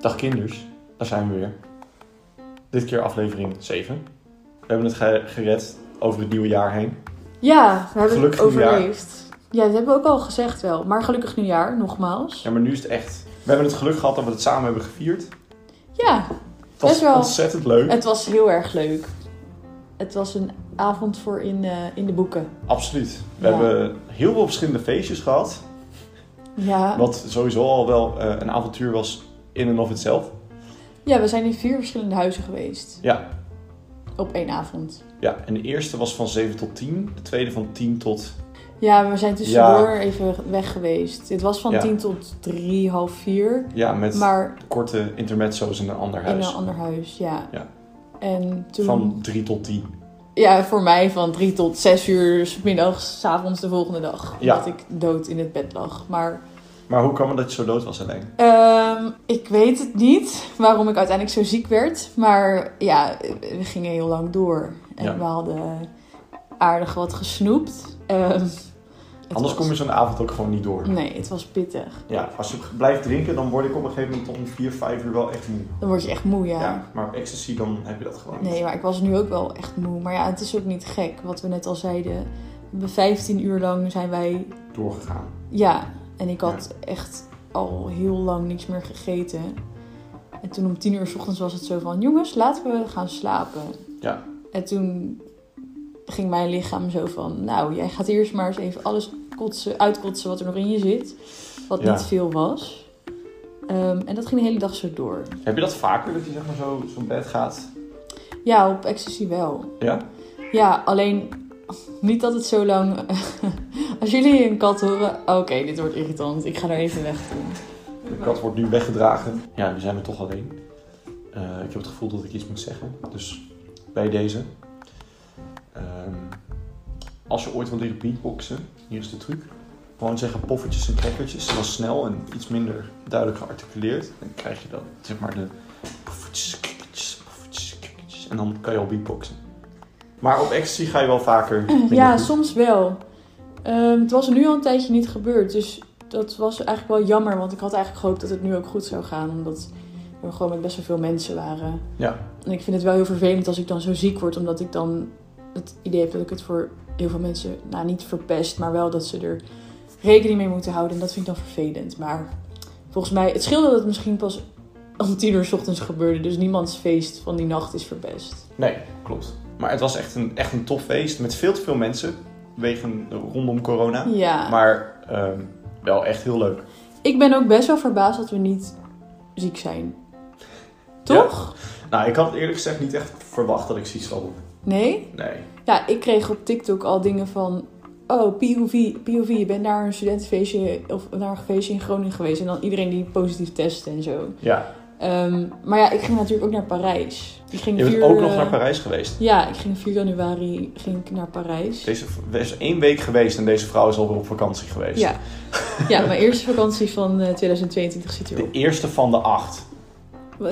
Dag kinders, daar zijn we weer. Dit keer aflevering 7. We hebben het ge- gered over het nieuwe jaar heen. Ja, we hebben Gelukkig het overleefd. Ja, dat hebben we ook al gezegd wel. Maar gelukkig nieuwjaar, nogmaals. Ja, maar nu is het echt... We hebben het geluk gehad dat we het samen hebben gevierd. Ja, Het was Best wel. ontzettend leuk. het was heel erg leuk. Het was een avond voor in, eh, in de boeken. Absoluut. We Ja. hebben heel veel verschillende feestjes gehad. Ja. Wat sowieso al wel eh, een avontuur was in en of itself. ja, we zijn in vier verschillende huizen geweest. Ja. Op één avond. Ja, en de eerste was van 7 tot 10. De tweede van 10 tot... Ja, maar we zijn tussendoor even weg geweest. Het was van Ja. tien tot drie, half vier. Ja, met Maar korte intermezzo's in een ander in huis. een ander huis, ja. Ja. En toen... Van 3 tot 10. Ja, voor mij van drie tot zes uur 's middags, 's avonds de volgende dag. Ja. Omdat ik dood in het bed lag. Maar Maar hoe kwam het dat je zo dood was alleen? Ehm, ik weet het niet waarom ik uiteindelijk zo ziek werd. Maar ja, we gingen heel lang door. En Ja. we hadden aardig wat gesnoept. Ehm, het Anders was- kom je zo'n avond ook gewoon niet door. Nee, het was pittig. Ja, als je blijft drinken, dan word ik op een gegeven moment om 4, 5 uur wel echt moe. Dan word je echt moe, ja. maar op ecstasy dan heb je dat gewoon niet. Nee, maar ik was nu ook wel echt moe. Maar ja, het is ook niet gek. Wat we net al zeiden. We 15 uur lang zijn wij... doorgegaan. Ja, en ik had echt al heel lang niks meer gegeten. En toen om 10 uur 's ochtends was het zo van... Jongens, laten we gaan slapen. Ja, En toen ging mijn lichaam zo van, nou, jij gaat eerst maar eens even alles kotsen, uitkotsen wat er nog in je zit. Wat Ja. niet veel was. Ehm, en dat ging de hele dag zo door. heb je dat vaker, dat je zeg maar zo, zo'n bed gaat? Ja, op ecstasy wel. Ja? Ja, alleen niet dat het zo lang... Als jullie een kat horen... Oké, dit wordt irritant. Ik ga er even weg doen. De kat wordt nu weggedragen. Ja, nu zijn we toch alleen. Eh, ik heb het gevoel dat ik iets moet zeggen, dus bij deze. Ehm, als je ooit wilt leren beatboxen, hier is de truc. Gewoon zeggen poffertjes en crackertjes, dat is snel en iets minder duidelijk gearticuleerd. Dan krijg je dan zeg maar de poffertjes, crackertjes, poffertjes, crackertjes. En dan kan je al beatboxen. Maar op ecstasy ga je wel vaker. minder Ja, goed. soms wel. Ehm, het was nu al een tijdje niet gebeurd. Dus dat was eigenlijk wel jammer. Want ik had eigenlijk gehoopt dat het nu ook goed zou gaan. Omdat we gewoon met best wel veel mensen waren. Ja. En ik vind het wel heel vervelend als ik dan zo ziek word. Omdat ik dan het idee heb dat ik het voor heel veel mensen... Nou, niet verpest. Maar wel dat ze er rekening mee moeten houden. En dat vind ik dan vervelend. Maar volgens mij... Het scheelde dat het misschien pas om tien uur 's ochtends gebeurde. Dus niemands feest van die nacht is verpest. Nee, klopt. Maar het was echt een, echt een tof feest met veel te veel mensen. Wegen eh, rondom corona. Ja. Maar ehm, wel echt heel leuk. Ik ben ook best wel verbaasd dat we niet ziek zijn. Toch? Nou, ik had eerlijk gezegd niet echt verwacht dat ik ziek zou worden. Nee? Nee. Ja, ik kreeg op TikTok al dingen van... Oh, POV, POV, je bent naar een studentenfeestje of naar een feestje in Groningen geweest. En dan iedereen die positief test en zo. Ja. Ehm, maar ja, ik ging natuurlijk ook naar Parijs. Ik ging Je bent vier, ook eh, nog naar Parijs geweest. Ja, ik ging 4 januari ging ik naar Parijs. Deze v- er is één week geweest en deze vrouw is alweer op vakantie geweest. Ja. ja, mijn eerste vakantie van eh, 2022 zit De erop. eerste van de acht. Eh,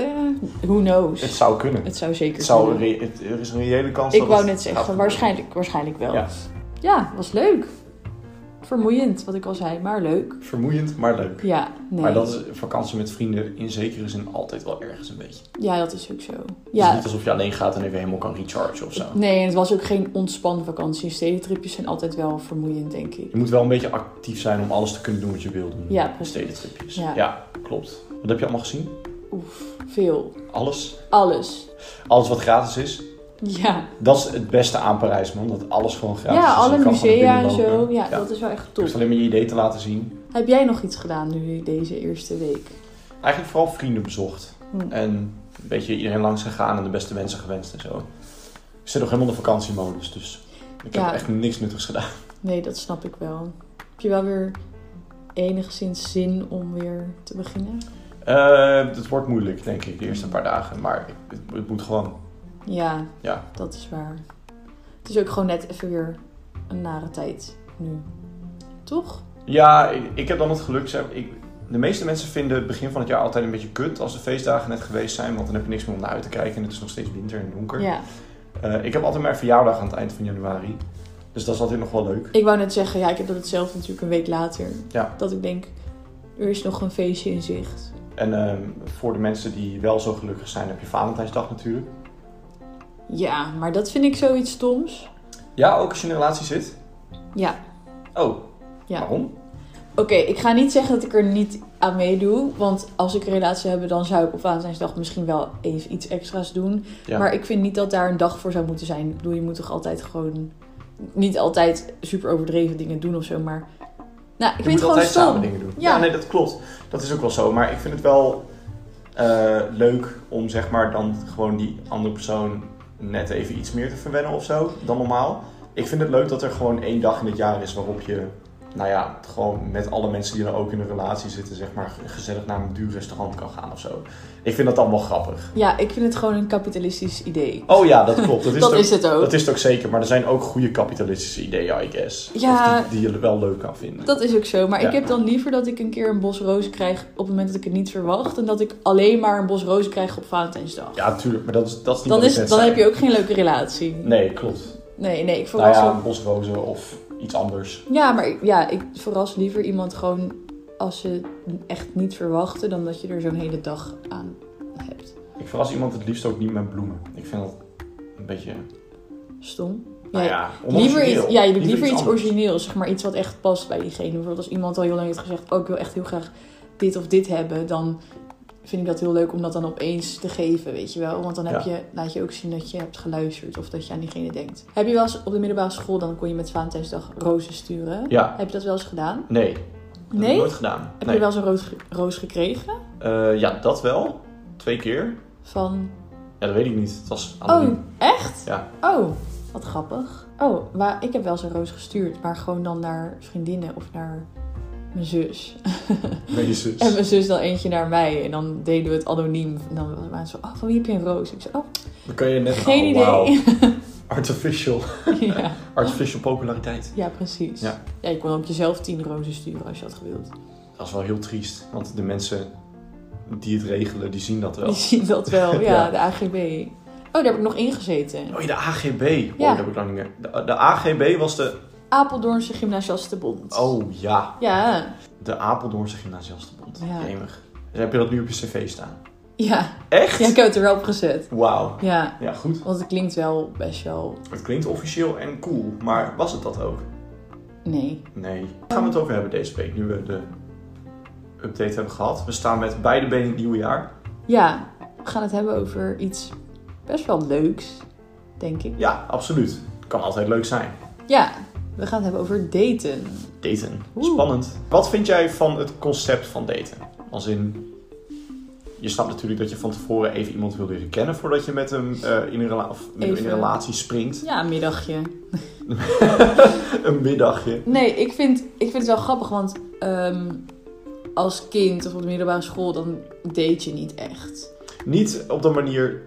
who knows? Het zou kunnen. Het zou zeker Het zou, een kunnen. re- het- er is een reële kans Ik dat wou het net gaat zeggen, gebeuren. waarschijnlijk, waarschijnlijk wel. Ja. Ja. was leuk. Vermoeiend, wat ik al zei, maar leuk. Vermoeiend, maar leuk. Ja, nee. Maar dat is vakantie met vrienden in zekere zin altijd wel ergens een beetje. Ja, dat is ook zo. Het is Ja. niet alsof je alleen gaat en even helemaal kan rechargen of zo. Nee, en het was ook geen ontspannen vakantie. Stedentripjes zijn altijd wel vermoeiend, denk ik. Je moet wel een beetje actief zijn om alles te kunnen doen wat je wil doen. Ja, precies. Stedentripjes. Ja. Ja. klopt. Wat heb je allemaal gezien? Oef, veel. Alles. Alles. Alles wat gratis is. Ja, Dat is het beste aan Parijs, man. Dat alles gewoon gratis is. ja dus Je alle kan gewoon naar musea en binnen zo. lopen. Ja, dat is wel echt Je top. hoeft alleen maar je idee te laten zien. Heb jij nog iets gedaan nu deze eerste week? Eigenlijk vooral vrienden bezocht. Hm. En een beetje iedereen langs gegaan en de beste wensen gewenst en zo. Ik zit nog helemaal in de vakantiemodus, dus ik Ja. heb echt niks nuttigs gedaan. Nee, dat snap ik wel. Heb je wel weer enigszins zin om weer te beginnen? Eh, het wordt moeilijk, denk ik, de eerste paar dagen. Maar ik- het, het moet gewoon. Ja, Ja. dat is waar. Het is ook gewoon net even weer een nare tijd nu. Toch? Ja, ik, ik heb dan het geluk. zeg, Ik, de meeste mensen vinden het begin van het jaar altijd een beetje kut als de feestdagen net geweest zijn. Want dan heb je niks meer om naar uit te kijken en het is nog steeds winter en donker. Ja. Eh, ik heb altijd mijn verjaardag aan het eind van januari. Dus dat is altijd nog wel leuk. Ik wou net zeggen, ja, ik heb dat hetzelfde natuurlijk een week later. Ja. Dat ik denk, er is nog een feestje in zicht. En ehm, voor de mensen die wel zo gelukkig zijn, heb je Valentijnsdag natuurlijk. Ja, maar dat vind ik zoiets stoms. Ja, ook als je in een relatie zit. Ja, Oh, Ja. waarom? oké, ik ga niet zeggen dat ik er niet aan meedoe. Want als ik een relatie zou hebben, dan zou ik op Valentijnsdag misschien wel even iets extra's doen. Ja. Maar ik vind niet dat daar een dag voor zou moeten zijn. Ik bedoel, je moet toch altijd gewoon... Niet altijd super overdreven dingen doen of zo, maar... Nou, ik je moet vind het gewoon altijd stom. samen dingen doen. Ja. nee, dat klopt. Dat is ook wel zo. Maar ik vind het wel eh, leuk om zeg maar dan gewoon die andere persoon net even iets meer te verwennen of zo dan normaal. Ik vind het leuk dat er gewoon één dag in het jaar is waarop je, nou ja, gewoon met alle mensen die dan ook in een relatie zitten, zeg maar, gezellig naar een duur restaurant kan gaan of zo. Ik vind dat dan wel grappig. Ja, ik vind het gewoon een kapitalistisch idee. Oh ja, dat klopt. Dat is, dat het ook, is het ook. dat is het ook zeker. Maar er zijn ook goede kapitalistische ideeën, I guess. Ja. Of die, die je wel leuk kan vinden. Dat is ook zo. Maar Ja. ik heb dan liever dat ik een keer een bos rozen krijg op het moment dat ik het niet verwacht. Dan dat ik alleen maar een bos rozen krijg op Valentijnsdag. Ja, natuurlijk, maar dat is, dat is niet dan wat is, ik net dan zei. heb je ook geen leuke relatie. Nee, klopt. nee, nee, ik Nou verras ja, ook- een bosrozen of iets anders. Ja, maar ik, ja, ik verras liever iemand gewoon als ze het echt niet verwachten. Dan dat je er zo'n hele dag aan hebt. Ik verras iemand het liefst ook niet met bloemen. Ik vind dat een beetje... Stom. Nou Ja, ja, Liever iets, onorigineel. ja, je doet liever iets anders. origineels, zeg maar iets wat echt past bij diegene. Bijvoorbeeld als iemand al heel lang heeft gezegd, oh ik wil echt heel graag dit of dit hebben, dan vind ik dat heel leuk om dat dan opeens te geven, weet je wel. Want dan heb Ja. je, laat je ook zien dat je hebt geluisterd of dat je aan diegene denkt. Heb je wel eens op de middelbare school, dan kon je met Valentijnsdag rozen sturen. Ja, Heb je dat wel eens gedaan? nee. Dat heb ik Nee? nooit gedaan. Heb nee. je wel eens een roos, ge- roos gekregen? Eh, ja, dat wel. Twee keer. Van, Ja, dat weet ik niet. Het was oh, anoniem. echt? Ja. Oh, wat grappig. Oh, maar ik heb wel eens een roos gestuurd, maar gewoon dan naar vriendinnen of naar mijn zus. Nee, zus. En mijn zus dan eentje naar mij. En dan deden we het anoniem. En dan waren ze zo, oh, van wie heb je een roos? Ik zei, oh, Dan kan je net... geen Oh, idee. wauw. Artificial. ja, Artificial populariteit. ja, precies. Ja. Ja. je kon op jezelf tien rozen sturen als je had gewild. Dat is wel heel triest. Want de mensen die het regelen, die zien dat wel. Je ziet dat wel, ja, Ja. de AGB. Oh, daar heb ik nog ingezeten. Oh ja, de AGB. Oh, Ja. dat heb ik lang niet meer. De, de AGB was de... Apeldoornse Gymnasiastenbond. Oh ja, Ja, de Apeldoornse Gymnasiastenbond. Ja. Jemig. Dus heb je dat nu op je cv staan? ja. Echt? ja, ik heb het er wel op gezet. Wauw. Ja, Ja, goed. want het klinkt wel best wel... Het klinkt officieel en cool, maar was het dat ook? Nee. Nee. Daar gaan we het over hebben deze week, nu we de update hebben gehad. We staan met beide benen in het nieuwe jaar. Ja, we gaan het hebben over iets best wel leuks, denk ik. Ja, absoluut. Kan altijd leuk zijn. Ja, we gaan het hebben over daten. Daten. Oeh. Spannend. Wat vind jij van het concept van daten? Als in, je snapt natuurlijk dat je van tevoren even iemand wil leren kennen voordat je met hem eh, in, een rela- of in een Even. relatie springt. Ja, een middagje. Een middagje. Nee, ik vind, ik vind het wel grappig, want ehm, als kind of op de middelbare school, dan date je niet echt. Niet op de manier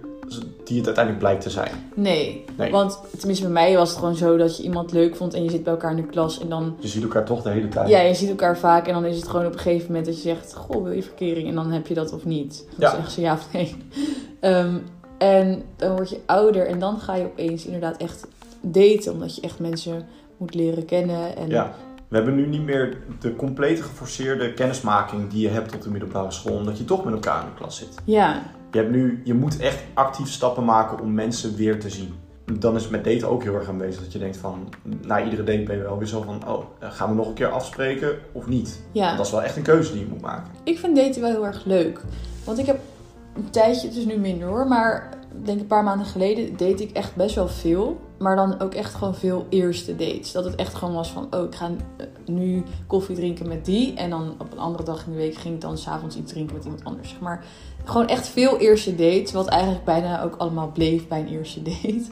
die het uiteindelijk blijkt te zijn. Nee, Nee. want tenminste bij mij was het gewoon zo dat je iemand leuk vond en je zit bij elkaar in de klas en dan... Je ziet Dus elkaar toch de hele tijd. Ja, je ziet elkaar vaak en dan is het gewoon op een gegeven moment dat je zegt, goh, wil je verkering? En dan heb je dat of niet. Dan Ja. zeggen ze ja of nee. Ehm, en dan word je ouder en dan ga je opeens inderdaad echt daten, omdat je echt mensen moet leren kennen. En Ja. We hebben nu niet meer de complete geforceerde kennismaking die je hebt op de middelbare school, omdat je toch met elkaar in de klas zit. ja. Je, hebt nu, je moet echt actief stappen maken om mensen weer te zien. Dan is het met daten ook heel erg aanwezig dat je denkt van, na iedere date ben je wel weer zo van, oh, eh, gaan we nog een keer afspreken of niet? ja. Want dat is wel echt een keuze die je moet maken. Ik vind daten wel heel erg leuk. Want ik heb een tijdje, het is nu minder hoor, maar ik denk een paar maanden geleden date ik echt best wel veel. Maar dan ook echt gewoon veel eerste dates. Dat het echt gewoon was van, oh ik ga eh, nu koffie drinken met die. En dan op een andere dag in de week ging ik dan s'avonds iets drinken met iemand anders. Zeg maar gewoon echt veel eerste dates. Wat eigenlijk bijna ook allemaal bleef bij een eerste date.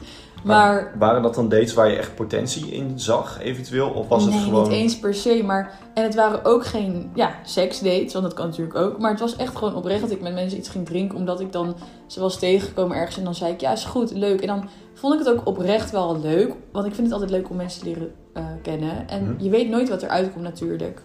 Maar waren dat dan dates waar je echt potentie in zag, eventueel? Of was nee, het gewoon... niet eens per se, maar... En het waren ook geen ja, seksdates, want dat kan natuurlijk ook. Maar het was echt gewoon oprecht dat ik met mensen iets ging drinken... omdat ik dan... Ze was tegengekomen ergens en dan zei ik... Ja, is goed, leuk. En dan vond ik het ook oprecht wel leuk. Want ik vind het altijd leuk om mensen te leren eh, kennen. En Mhm. je weet nooit wat eruit komt natuurlijk.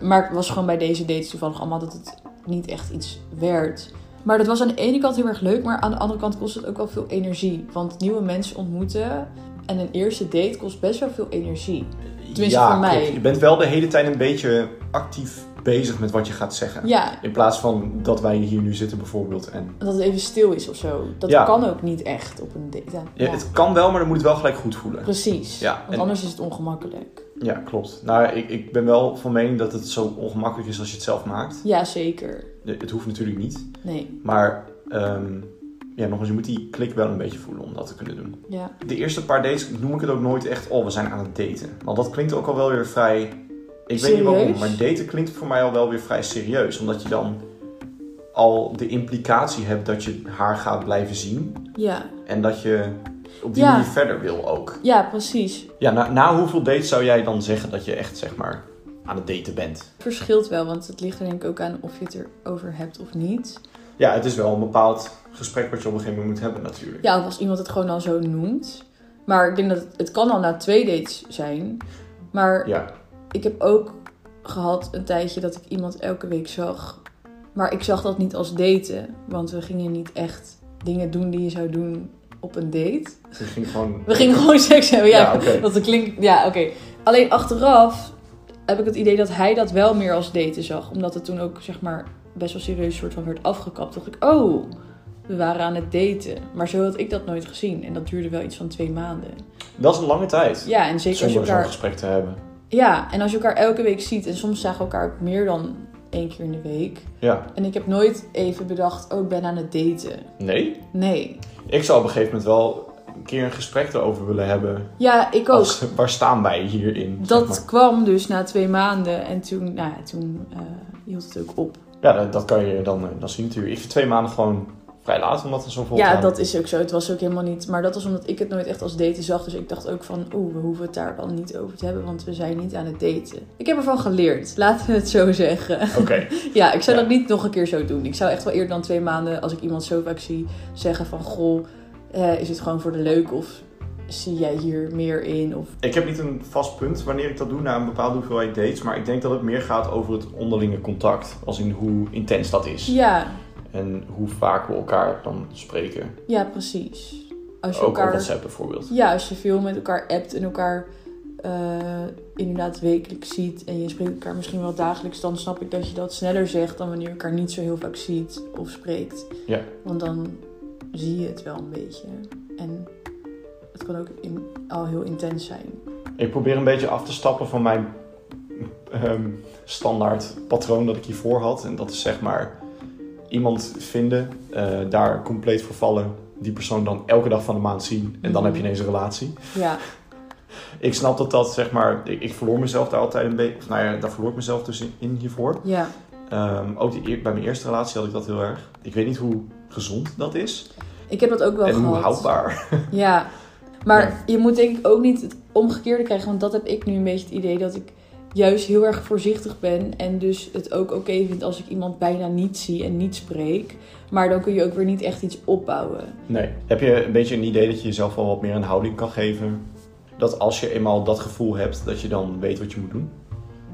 Maar het was gewoon bij deze dates toevallig allemaal... dat het niet echt iets werd... Maar dat was aan de ene kant heel erg leuk, maar aan de andere kant kost het ook wel veel energie. Want nieuwe mensen ontmoeten en een eerste date kost best wel veel energie. Tenminste voor mij. klopt. Je bent wel de hele tijd een beetje actief bezig met wat je gaat zeggen. Ja, In plaats van dat wij hier nu zitten bijvoorbeeld. En, dat het even stil is of zo. Dat Ja. kan ook niet echt op een date. Ja, ja, ja. Het kan wel, maar dan moet het wel gelijk goed voelen. Precies. Ja, Want en- anders is het ongemakkelijk. Ja, klopt. Nou, ik, ik ben wel van mening dat het zo ongemakkelijk is als je het zelf maakt. Ja, zeker. De- Het hoeft natuurlijk niet. Nee. Maar ehm, ja, nogmaals, je moet die klik wel een beetje voelen om dat te kunnen doen. Ja. De eerste paar dates noem ik het ook nooit echt, oh, we zijn aan het daten. Want dat klinkt ook al wel weer vrij... Ik weet niet waarom, Serieus? maar daten klinkt voor mij al wel weer vrij serieus. Omdat je dan al de implicatie hebt dat je haar gaat blijven zien. Ja. En dat je op die Ja. manier verder wil ook. Ja, precies. Ja, na, na hoeveel dates zou jij dan zeggen dat je echt, zeg maar, aan het daten bent? Het verschilt wel, want het ligt er denk ik ook aan of je het erover hebt of niet. Ja, het is wel een bepaald gesprek wat je op een gegeven moment moet hebben natuurlijk. Ja, of als iemand het gewoon al zo noemt. Maar ik denk dat het, het kan al na twee dates zijn. Maar ja. ik heb ook gehad een tijdje dat ik iemand elke week zag. Maar ik zag dat niet als daten. Want we gingen niet echt dingen doen die je zou doen op een date. We gingen gewoon... We gingen gewoon seks hebben. Ja, Ja, oké. dat klinkt... Ja, oké. Alleen achteraf heb ik het idee dat hij dat wel meer als daten zag. Omdat het toen ook, zeg maar, best wel serieus soort van werd afgekapt. Dacht ik, oh, we waren aan het daten. Maar zo had ik dat nooit gezien. En dat duurde wel iets van twee maanden. Dat is een lange tijd. Ja, en zeker als je zonder zo'n elkaar gesprek te hebben. Ja, en als je elkaar elke week ziet, en soms zagen we elkaar ook meer dan één keer in de week. Ja. En ik heb nooit even bedacht, oh, ik ben aan het daten. Nee. Nee. Ik zou op een gegeven moment wel een keer een gesprek erover willen hebben. Ja, ik ook. Als, waar staan wij hierin? zeg Dat kwam dus na twee maanden en toen, nou, ja, toen eh, hield het ook op. maar. Ja, dat, dat kan je dan, eh, dan zien natuurlijk. Ik vind twee maanden gewoon vrij laat, omdat er zo'n vol Ja, dat is ook zo. Het was ook helemaal niet. Maar dat was omdat ik het nooit echt als daten zag. Dus ik dacht ook van, oeh, we hoeven het daar dan niet over te hebben, want we zijn niet aan het daten. Ik heb ervan geleerd, laten we het zo zeggen. Oké. Ja, ik zou Ja. dat niet nog een keer zo doen. Ik zou echt wel eerder dan twee maanden, als ik iemand zo vaak zie, zeggen van... Goh, eh, is het gewoon voor de leuk of zie jij hier meer in? Of, Ik heb niet een vast punt wanneer ik dat doe na een bepaalde hoeveelheid dates. Maar ik denk dat het meer gaat over het onderlinge contact. Als in hoe intens dat is. ja, En hoe vaak we elkaar dan spreken. ja, precies. Als je Ook op elkaar... WhatsApp bijvoorbeeld. Ja, als je veel met elkaar appt en elkaar eh, inderdaad wekelijks ziet... en je spreekt elkaar misschien wel dagelijks... dan snap ik dat je dat sneller zegt dan wanneer je elkaar niet zo heel vaak ziet of spreekt. Ja. Want dan zie je het wel een beetje. En het kan ook in- al heel intens zijn. Ik probeer een beetje af te stappen van mijn ehm, standaard patroon dat ik hiervoor had. En dat is zeg maar iemand vinden, eh, daar compleet voor vallen. Die persoon dan elke dag van de maand zien. En dan Mhm. heb je ineens een relatie. Ja, Ik snap dat dat zeg maar. Ik, ik verloor mezelf daar altijd een beetje. Of nou ja, daar verloor ik mezelf dus in, in hiervoor. ja. Ehm, ook die, eer- bij mijn eerste relatie had ik dat heel erg. Ik weet niet hoe gezond dat is. Ik heb dat ook wel en gehad. hoe houdbaar. Ja. Maar je moet denk ik ook niet het omgekeerde krijgen. Want dat heb ik nu een beetje het idee dat ik juist heel erg voorzichtig ben. En dus het ook oké vind als ik iemand bijna niet zie en niet spreek. Maar dan kun je ook weer niet echt iets opbouwen. Nee. Heb je een beetje een idee dat je jezelf wel wat meer een houding kan geven? Dat als je eenmaal dat gevoel hebt, dat je dan weet wat je moet doen?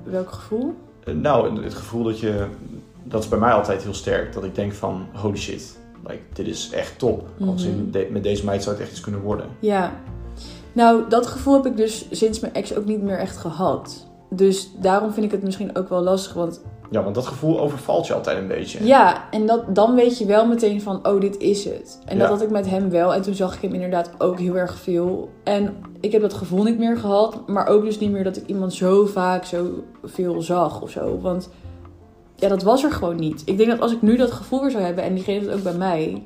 Welk gevoel? Eh, Nou, het gevoel dat je... Dat is bij mij altijd heel sterk. Dat ik denk van, holy shit. Like, dit is echt top. Als in, Mhm. de- met deze meid zou het echt iets kunnen worden. Ja. Nou, dat gevoel heb ik dus sinds mijn ex ook niet meer echt gehad. Dus daarom vind ik het misschien ook wel lastig. Want Ja, want dat gevoel overvalt je altijd een beetje. Ja, en dat, dan weet je wel meteen van, oh, dit is het. En dat Ja. had ik met hem wel. En toen zag ik hem inderdaad ook heel erg veel. En ik heb dat gevoel niet meer gehad. Maar ook dus niet meer dat ik iemand zo vaak zo veel zag of zo. Want ja, dat was er gewoon niet. Ik denk dat als ik nu dat gevoel weer zou hebben en diegene dat ook bij mij...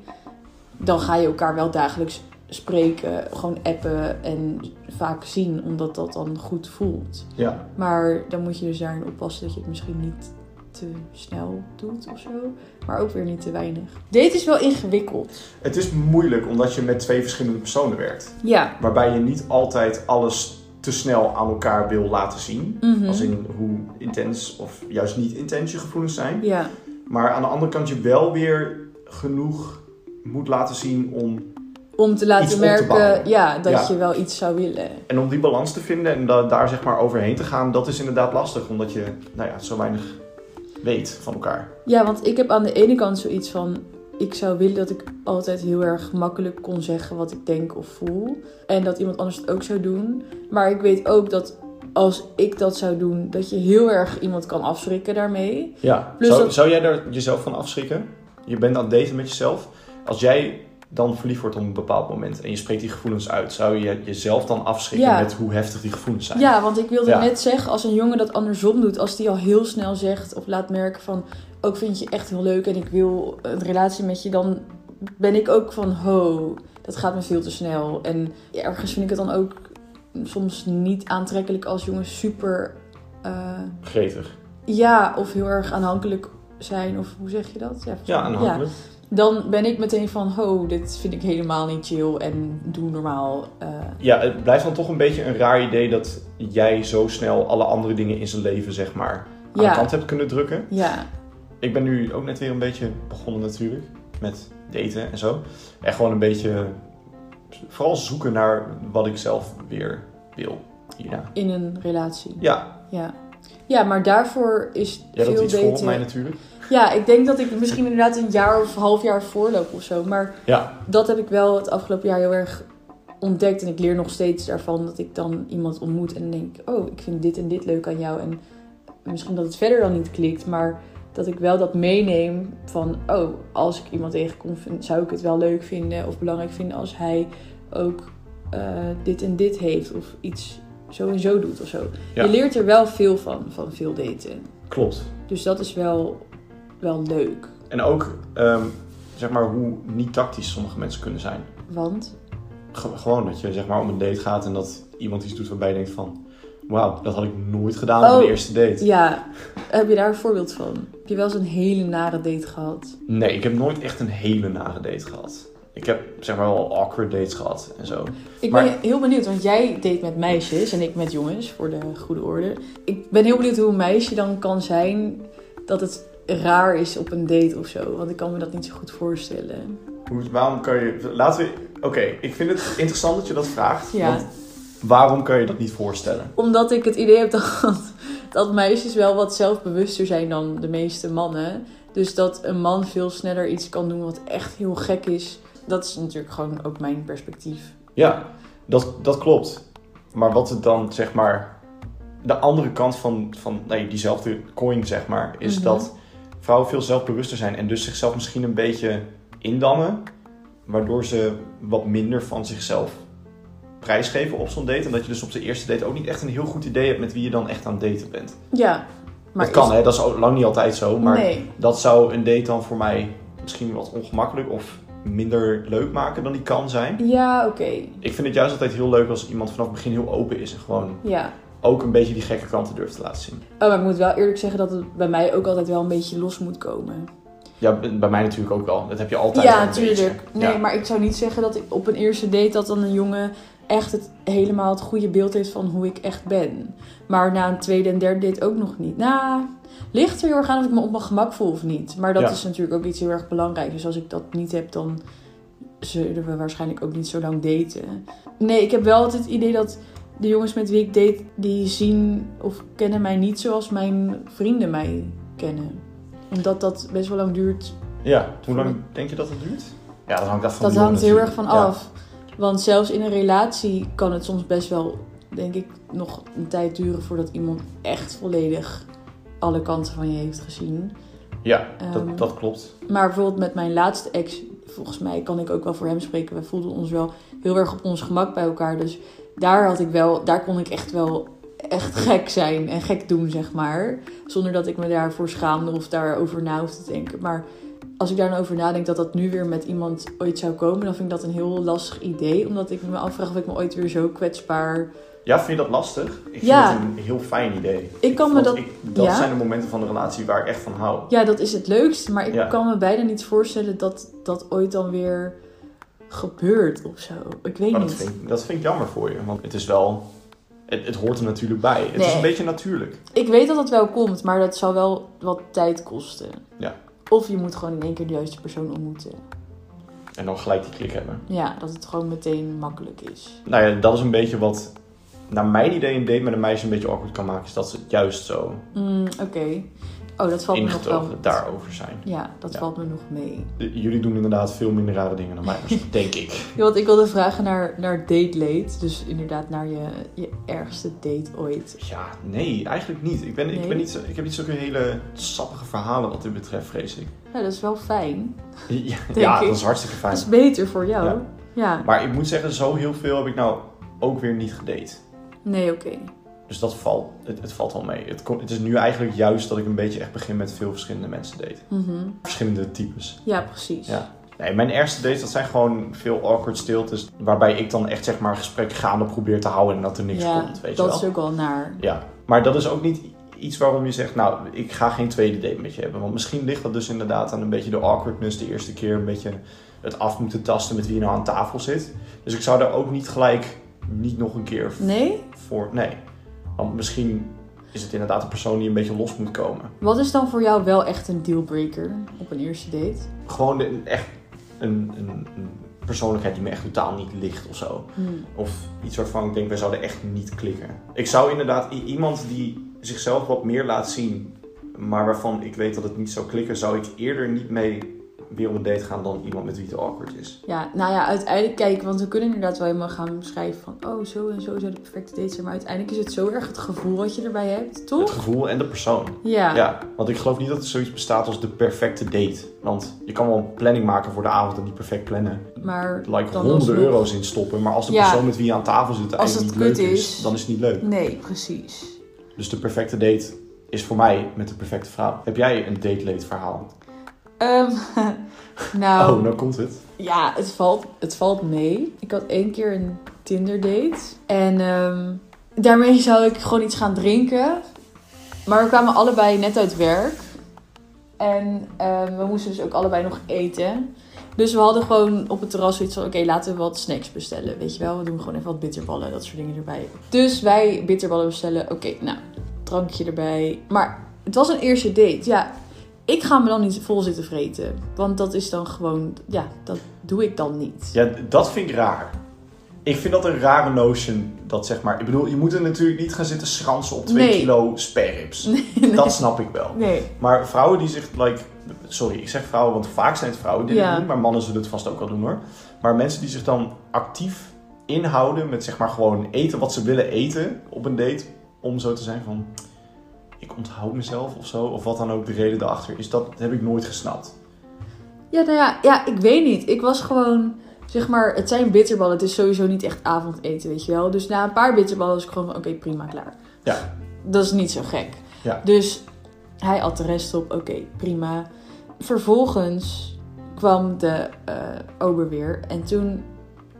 dan ga je elkaar wel dagelijks spreken, gewoon appen en vaak zien. Omdat dat dan goed voelt. Ja. Maar dan moet je dus daarin oppassen dat je het misschien niet te snel doet of zo. Maar ook weer niet te weinig. Dit is wel ingewikkeld. Het is moeilijk omdat je met twee verschillende personen werkt. Ja. Waarbij je niet altijd alles te snel aan elkaar wil laten zien. Mhm. Als in hoe intens of juist niet intens je gevoelens zijn. Ja. Maar aan de andere kant je wel weer genoeg moet laten zien om... Om te Iets laten op te merken bouwen. ja, dat Ja. je wel iets zou willen. En om die balans te vinden en da- daar zeg maar overheen te gaan, dat is inderdaad lastig. Omdat je nou ja, zo weinig weet van elkaar. Ja, want ik heb aan de ene kant zoiets van. Ik zou willen dat ik altijd heel erg makkelijk kon zeggen wat ik denk of voel. En dat iemand anders het ook zou doen. Maar ik weet ook dat als ik dat zou doen, dat je heel erg iemand kan afschrikken daarmee. Ja. Plus zou, dat- zou jij daar jezelf van afschrikken? Je bent aan het daten met jezelf. Als jij dan verliefd wordt op een bepaald moment en je spreekt die gevoelens uit, zou je jezelf dan afschrikken Ja. met hoe heftig die gevoelens zijn? Ja, want ik wilde Ja. net zeggen, als een jongen dat andersom doet, als die al heel snel zegt of laat merken van, ook vind je echt heel leuk en ik wil een relatie met je, dan ben ik ook van, ho, dat gaat me veel te snel. En ja, ergens vind ik het dan ook soms niet aantrekkelijk als jongens super, eh, Gretig. ja, of heel erg aanhankelijk zijn, of hoe zeg je dat? Ja, volgens Ja, mij- aanhankelijk. Dan ben ik meteen van, ho, dit vind ik helemaal niet chill en doe normaal. eh, Ja, het blijft dan toch een beetje een raar idee dat jij zo snel alle andere dingen in zijn leven, zeg maar, aan de ja, kant hebt kunnen drukken. ja, Ik ben nu ook net weer een beetje begonnen natuurlijk met daten en zo. En gewoon een beetje vooral zoeken naar wat ik zelf weer wil hierna. in een relatie. Ja, Ja. Ja, maar daarvoor is jij veel hebt iets voor op beter. mij natuurlijk. Ja, ik denk dat ik misschien inderdaad een jaar of half jaar voorloop of zo. Maar Ja, dat heb ik wel het afgelopen jaar heel erg ontdekt. En ik leer nog steeds daarvan dat ik dan iemand ontmoet en denk... Oh, ik vind dit en dit leuk aan jou. En misschien dat het verder dan niet klikt, maar... Dat ik wel dat meeneem van, oh, als ik iemand tegenkom, vind- zou ik het wel leuk vinden of belangrijk vinden als hij ook eh, dit en dit heeft of iets zo en zo doet of zo. Ja. Je leert er wel veel van, van veel daten. klopt. Dus dat is wel, wel leuk. En ook, ehm, zeg maar, hoe niet tactisch sommige mensen kunnen zijn. Want, Ge- gewoon dat je, zeg maar, om een date gaat en dat iemand iets doet waarbij je denkt van... Wauw, dat had ik nooit gedaan op Oh. de eerste date. ja, heb je daar een voorbeeld van? Heb je wel eens een hele nare date gehad? Nee, ik heb nooit echt een hele nare date gehad. Ik heb, zeg maar, wel awkward dates gehad en zo. Ik ben Maar- heel benieuwd, want jij date met meisjes en ik met jongens, voor de goede orde. Ik ben heel benieuwd hoe een meisje dan kan zijn dat het raar is op een date of zo. Want ik kan me dat niet zo goed voorstellen. Hoe, waarom kan je... Laten we... Oké, ik vind het interessant dat je dat vraagt. Ja. Want waarom kan je dat niet voorstellen? Omdat ik het idee heb dat, dat meisjes wel wat zelfbewuster zijn dan de meeste mannen. Dus dat een man veel sneller iets kan doen wat echt heel gek is. Dat is natuurlijk gewoon ook mijn perspectief. Ja, dat, dat klopt. Maar wat het dan, zeg maar... De andere kant van, van nee, diezelfde coin, zeg maar... is Mhm. dat vrouwen veel zelfbewuster zijn... en dus zichzelf misschien een beetje indammen... waardoor ze wat minder van zichzelf prijsgeven op zo'n date. En dat je dus op de eerste date ook niet echt een heel goed idee hebt... met wie je dan echt aan het daten bent. Ja, maar dat kan, is- hè? Dat is ook lang niet altijd zo, maar... Nee, Dat zou een date dan voor mij misschien wat ongemakkelijk of minder leuk maken dan die kan zijn. ja, oké. Ik vind het juist altijd heel leuk als iemand vanaf het begin heel open is en gewoon Ja. ook een beetje die gekke kanten durft te laten zien. Oh, maar ik moet wel eerlijk zeggen dat het bij mij ook altijd wel een beetje los moet komen. Ja, b- bij mij natuurlijk ook wel. Dat heb je altijd. wel ja, een natuurlijk. beetje. Nee, Ja. maar ik zou niet zeggen dat ik op een eerste date dat dan een jongen echt het, helemaal het goede beeld heeft van hoe ik echt ben. Maar na een tweede en derde date ook nog niet. Nou, ligt er heel erg aan of ik me op mijn gemak voel of niet. Maar dat Ja. is natuurlijk ook iets heel erg belangrijks. Dus als ik dat niet heb, dan zullen we waarschijnlijk ook niet zo lang daten. Nee, ik heb wel altijd het idee dat de jongens met wie ik date, die zien of kennen mij niet zoals mijn vrienden mij kennen. Omdat dat best wel lang duurt Ja, hoe lang denk je dat het duurt? Ja, dat hangt af van dat de hangt jongen heel erg van natuurlijk. Ja. af. Want zelfs in een relatie kan het soms best wel, denk ik, nog een tijd duren voordat iemand echt volledig alle kanten van je heeft gezien. Ja, Ehm. dat, dat klopt. Maar bijvoorbeeld met mijn laatste ex, volgens mij kan ik ook wel voor hem spreken. We voelden ons wel heel erg op ons gemak bij elkaar. Dus daar had ik wel, daar kon ik echt wel echt gek zijn en gek doen, zeg maar. Zonder dat ik me daarvoor schaamde of daarover na hoefde te denken. Maar als ik daar nou over nadenk dat dat nu weer met iemand ooit zou komen, dan vind ik dat een heel lastig idee. Omdat ik me afvraag of ik me ooit weer zo kwetsbaar. Ja, vind je dat lastig? Ik vind Ja. het een heel fijn idee. Ik kan me Want dat. ik- dat ja. zijn de momenten van de relatie waar ik echt van hou. Ja, dat is het leukste. Maar ik Ja. kan me bijna niet voorstellen dat dat ooit dan weer gebeurt of zo. Ik weet Maar niet. Oh, dat vind, ik- dat vind ik jammer voor je, want het is wel... Het, het hoort er natuurlijk bij. Het Nee. is een beetje natuurlijk. Ik weet dat het wel komt, maar dat zal wel wat tijd kosten. Ja. Of je moet gewoon in één keer de juiste persoon ontmoeten. En dan gelijk die klik hebben. Ja, dat het gewoon meteen makkelijk is. Nou ja, dat is een beetje wat... Naar mijn idee een date met een meisje een beetje awkward kan maken... is dat ze het juist zo... Mm, Oké. Oh, dat valt me nog wel. ingetogen daarover zijn. Ja, dat Ja. valt me nog mee. De- jullie doen inderdaad veel minder rare dingen dan mij, denk ik. Ja, want ik wilde vragen naar, naar date late. Dus inderdaad naar je, je ergste date ooit. Ja, nee, eigenlijk niet. Ik, ben, ik, Nee? ben niet zo, ik heb niet zulke hele sappige verhalen wat dit betreft, vrees ik. Ja, dat is wel fijn. Ja, Denk ik. dat is hartstikke fijn. Dat is beter voor jou. Ja. Ja. Maar ik moet zeggen, zo heel veel heb ik nou ook weer niet gedate. Nee, oké. Dus dat valt, het, het valt wel mee. Het, kon- het is nu eigenlijk juist dat ik een beetje echt begin met veel verschillende mensen daten. Mhm. Verschillende types. Ja, precies. Ja. Nee, mijn eerste dates, dat zijn gewoon veel awkward stiltes. Waarbij ik dan echt zeg maar gesprek gaande probeer te houden en dat er niks Ja, komt, weet dat je wel. is ook al naar. Ja, maar dat is ook niet iets waarom je zegt, nou, ik ga geen tweede date met je hebben. Want misschien ligt dat dus inderdaad aan een beetje de awkwardness de eerste keer. Een beetje het af moeten tasten met wie je nou aan tafel zit. Dus ik zou daar ook niet gelijk, niet nog een keer Nee? voor... Nee, want misschien is het inderdaad een persoon die een beetje los moet komen. Wat is dan voor jou wel echt een dealbreaker op een eerste date? Gewoon de- echt een, een, een persoonlijkheid die me echt totaal niet ligt of zo. Hm. Of iets waarvan ik denk, wij zouden echt niet klikken. Ik zou inderdaad i- iemand die zichzelf wat meer laat zien, maar waarvan ik weet dat het niet zou klikken, zou ik eerder niet mee weer op een date gaan dan iemand met wie het awkward is. Ja, nou ja, uiteindelijk kijk, want we kunnen inderdaad wel helemaal gaan beschrijven van, oh, zo en zo zou de perfecte date zijn. Maar uiteindelijk is het zo erg het gevoel wat je erbij hebt, Het toch? gevoel en de persoon. Ja. Ja, want ik geloof niet dat er zoiets bestaat als de perfecte date. Want je kan wel een planning maken voor de avond en die perfect plannen. Maar Like Dan honderden alsnog. euro's in stoppen. Maar als de Ja. persoon met wie je aan tafel zit Als eigenlijk dat niet kut leuk is, is. dan is het niet leuk. nee, precies. Dus de perfecte date is voor mij met de perfecte vrouw. Heb jij een date-late verhaal? Ehm, nou, oh nou komt het. ja, het valt, het valt mee. Ik had één keer een Tinder date. En ehm, daarmee zou ik gewoon iets gaan drinken. Maar we kwamen allebei net uit werk. En ehm, we moesten dus ook allebei nog eten. Dus we hadden gewoon op het terras zoiets van... Oké, laten we wat snacks bestellen. Weet je wel, we doen gewoon even wat bitterballen. Dat soort dingen erbij. Dus wij bitterballen bestellen. Oké, nou, drankje erbij. Maar het was een eerste date. Ja, ik ga me dan niet vol zitten vreten. Want dat is dan gewoon... Ja, dat doe ik dan niet. Ja, d- dat vind ik raar. Ik vind dat een rare notion. Dat zeg maar. Ik bedoel, je moet er natuurlijk niet gaan zitten schransen op 2 Nee. kilo sperrips. Dat snap ik wel. Nee. Maar vrouwen die zich, like, sorry, ik zeg vrouwen, want vaak zijn het vrouwen die dit Ja. doen, maar mannen zullen het vast ook wel doen hoor. Maar mensen die zich dan actief inhouden met zeg maar gewoon eten wat ze willen eten op een date, om zo te zijn van, ik onthoud mezelf of zo, of wat dan ook de reden daarachter is, dat heb ik nooit gesnapt. Ja, nou ja, ja, ik weet niet. Ik was gewoon, zeg maar, het zijn bitterballen. Het is sowieso niet echt avondeten, weet je wel. Dus na een paar bitterballen was ik gewoon van, oké, prima, klaar. Ja. Dat is niet zo gek. Ja. Dus hij at de rest op, oké, prima. Vervolgens kwam de eh ober weer en toen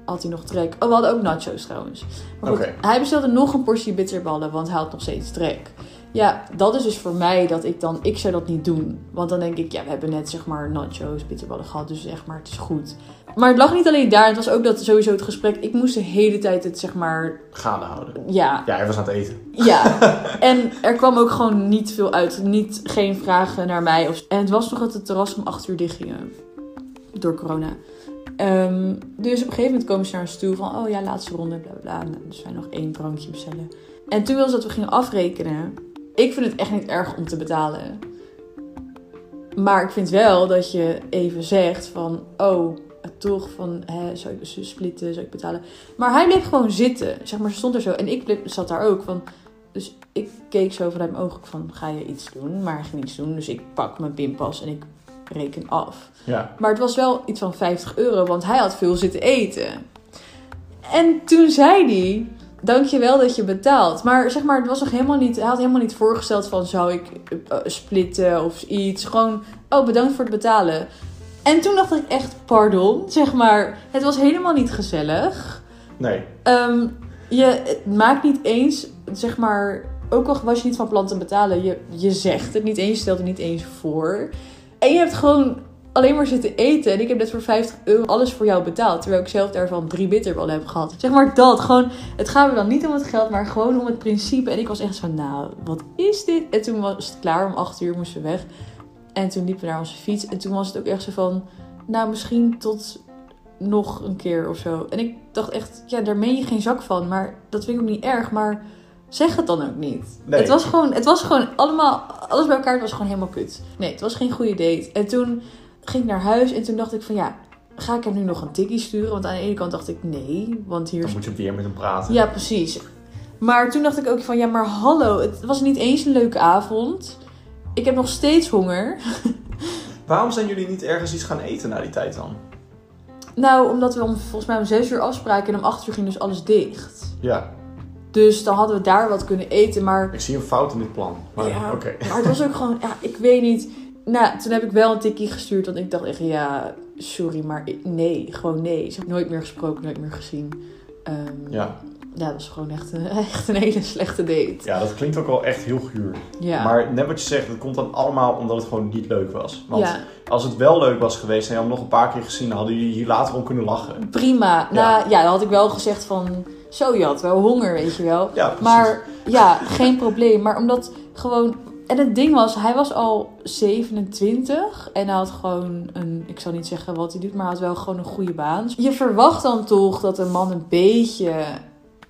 had hij nog trek. Oh, we hadden ook nachos trouwens. Maar goed, Oké. hij bestelde nog een portie bitterballen, want hij had nog steeds trek. Ja, dat is dus voor mij dat ik dan, ik zou dat niet doen. Want dan denk ik, ja, we hebben net zeg maar nachos, bitterballen gehad, dus zeg maar, het is goed. Maar het lag niet alleen daar, het was ook dat sowieso het gesprek, ik moest de hele tijd het zeg maar, Gaande houden. ja, Ja, hij was aan het eten. ja, en er kwam ook gewoon niet veel uit. Niet, geen vragen naar mij. Of... En het was nog dat het terras om 8 uur dicht ging. eh, Door corona. Ehm, dus op een gegeven moment komen ze naar ons toe van... Oh ja, laatste ronde, bla bla bla. Nou, dus wij nog één drankje bestellen. En toen was dat we gingen afrekenen. Ik vind het echt niet erg om te betalen. Maar ik vind wel dat je even zegt van... Oh, toch, van hè, zou ik splitten, zou ik betalen? Maar hij bleef gewoon zitten. Zeg maar, ze stond er zo. En ik bleef, zat daar ook van... Dus ik keek zo vanuit mijn ogen van, ga je iets doen? Maar hij ging niets doen, dus ik pak mijn pinpas en ik reken af. Ja. Maar het was wel iets van 50 euro, want hij had veel zitten eten. En toen zei hij, dankjewel dat je betaalt. Maar zeg maar, het was nog helemaal niet, hij had helemaal niet voorgesteld van, zou ik eh, eh, splitten of iets. Gewoon, oh bedankt voor het betalen. En toen dacht ik echt, pardon, zeg maar, het was helemaal niet gezellig. Nee. Ehm, je het maakt niet eens, zeg maar, ook al was je niet van plan te betalen, je, je zegt het niet eens, je stelt het niet eens voor. En je hebt gewoon alleen maar zitten eten. En ik heb net voor 50 euro alles voor jou betaald. Terwijl ik zelf daarvan drie bitterballen heb gehad. Zeg maar dat. Gewoon, het gaat me dan niet om het geld, maar gewoon om het principe. En ik was echt zo, nou, wat is dit? En toen was het klaar. Om 8 uur moesten we weg. En toen liepen we naar onze fiets. En toen was het ook echt zo van, nou, misschien tot nog een keer of zo. En ik dacht echt, ja, daar meen je geen zak van. Maar dat vind ik ook niet erg. Maar Zeg het dan ook niet. Nee. Het, was gewoon, het was gewoon allemaal, alles bij elkaar het was gewoon helemaal kut. Nee, het was geen goede date. En toen ging ik naar huis en toen dacht ik van ja, ga ik hem nu nog een tikkie sturen? Want aan de ene kant dacht ik nee, want hier Dan moet je weer met hem praten. ja, precies. Maar toen dacht ik ook van, ja, maar hallo, het was niet eens een leuke avond. Ik heb nog steeds honger. Waarom zijn jullie niet ergens iets gaan eten na die tijd dan? Nou, omdat we om, volgens mij om zes uur afspraken en om acht uur ging dus alles dicht. Ja, Dus dan hadden we daar wat kunnen eten, maar... ik zie een fout in dit plan. Maar ja, oké. maar het was ook gewoon, ja, ik weet niet. Nou, toen heb ik wel een tikkie gestuurd, want ik dacht echt, ja, sorry, maar ik- nee, gewoon nee. Ze hebben nooit meer gesproken, nooit meer gezien. Ehm, ja. Ja. dat was gewoon echt een, echt een hele slechte date. ja, dat klinkt ook wel echt heel guur. Ja. Maar net wat je zegt, dat komt dan allemaal omdat het gewoon niet leuk was. Want ja. als het wel leuk was geweest en je had hem nog een paar keer gezien, dan hadden jullie hier later om kunnen lachen. prima. Nou ja, dan had ik wel gezegd van... Zo, je had wel honger, weet je wel. Ja, precies. Maar ja, geen probleem. Maar omdat gewoon... En het ding was, hij was al 27 en hij had gewoon een, ik zal niet zeggen wat hij doet, maar hij had wel gewoon een goede baan. Je verwacht dan toch dat een man een beetje,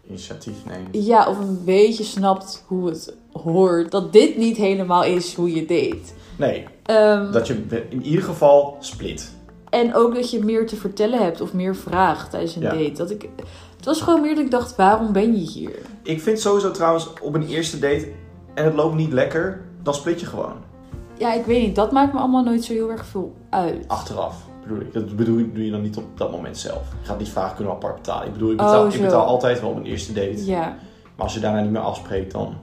Initiatief nemen. ja, of een beetje snapt hoe het hoort. Dat dit niet helemaal is hoe je deed. Nee, Ehm, dat je in ieder geval split. En ook dat je meer te vertellen hebt of meer vraagt tijdens een Ja. date. Dat ik, het was gewoon meer dat ik dacht, waarom ben je hier? Ik vind sowieso trouwens op een eerste date en het loopt niet lekker, dan split je gewoon. Ja, ik weet niet. Dat maakt me allemaal nooit zo heel erg veel uit. Achteraf bedoel ik. Dat bedoel, ik- doe je dan niet op dat moment zelf. Je gaat niet vragen, kunnen we apart betalen. Ik bedoel, ik betaal, Oh, ik zo. betaal altijd wel op een eerste date. Ja. Maar als je daarna niet meer afspreekt, dan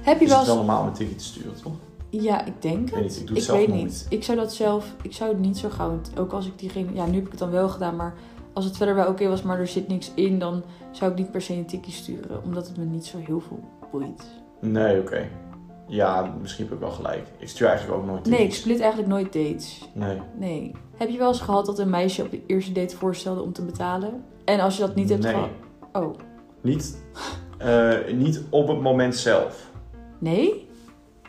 Heb je is wel het wel eens... normaal om een ticket te sturen, toch? Ja, ik denk Ik weet het. niet, ik doe het zelf weet nooit. niet. Ik zou dat zelf... Ik zou het niet zo gauw... want Ook als ik diegene... Ja, nu heb ik het dan wel gedaan, maar... Als het verder wel oké was, maar er zit niks in... dan zou ik niet per se een tikkie sturen. Omdat het me niet zo heel veel boeit. Nee, oké. Ja, misschien heb ik wel gelijk. Ik stuur eigenlijk ook nooit Nee, ik tickets. split eigenlijk nooit dates. Nee. Nee. Heb je wel eens gehad dat een meisje op de eerste date voorstelde om te betalen? En als je dat niet hebt nee. gehad... Oh, Niet, eh, niet op het moment zelf. nee?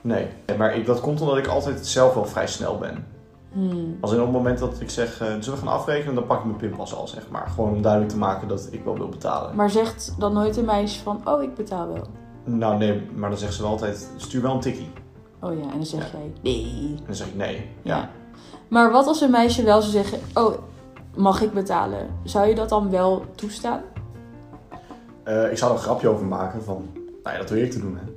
Nee. Maar ik, dat komt omdat ik altijd zelf wel vrij snel ben. Hmm. Als in op het moment dat ik zeg, eh, zullen we gaan afrekenen, dan pak ik mijn pinpas al, zeg maar. Gewoon om duidelijk te maken dat ik wel wil betalen. Maar zegt dan nooit een meisje van... Oh, ik betaal wel. Nou nee, maar dan zegt ze wel altijd, stuur wel een tikkie. Oh ja, en dan zeg jij nee. En dan zeg ik nee. Ja. Maar wat als een meisje wel zou zeggen: Oh, mag ik betalen? Zou je dat dan wel toestaan? Eh, ik zou er een grapje over maken van, nou ja, dat wil ik te doen, hè.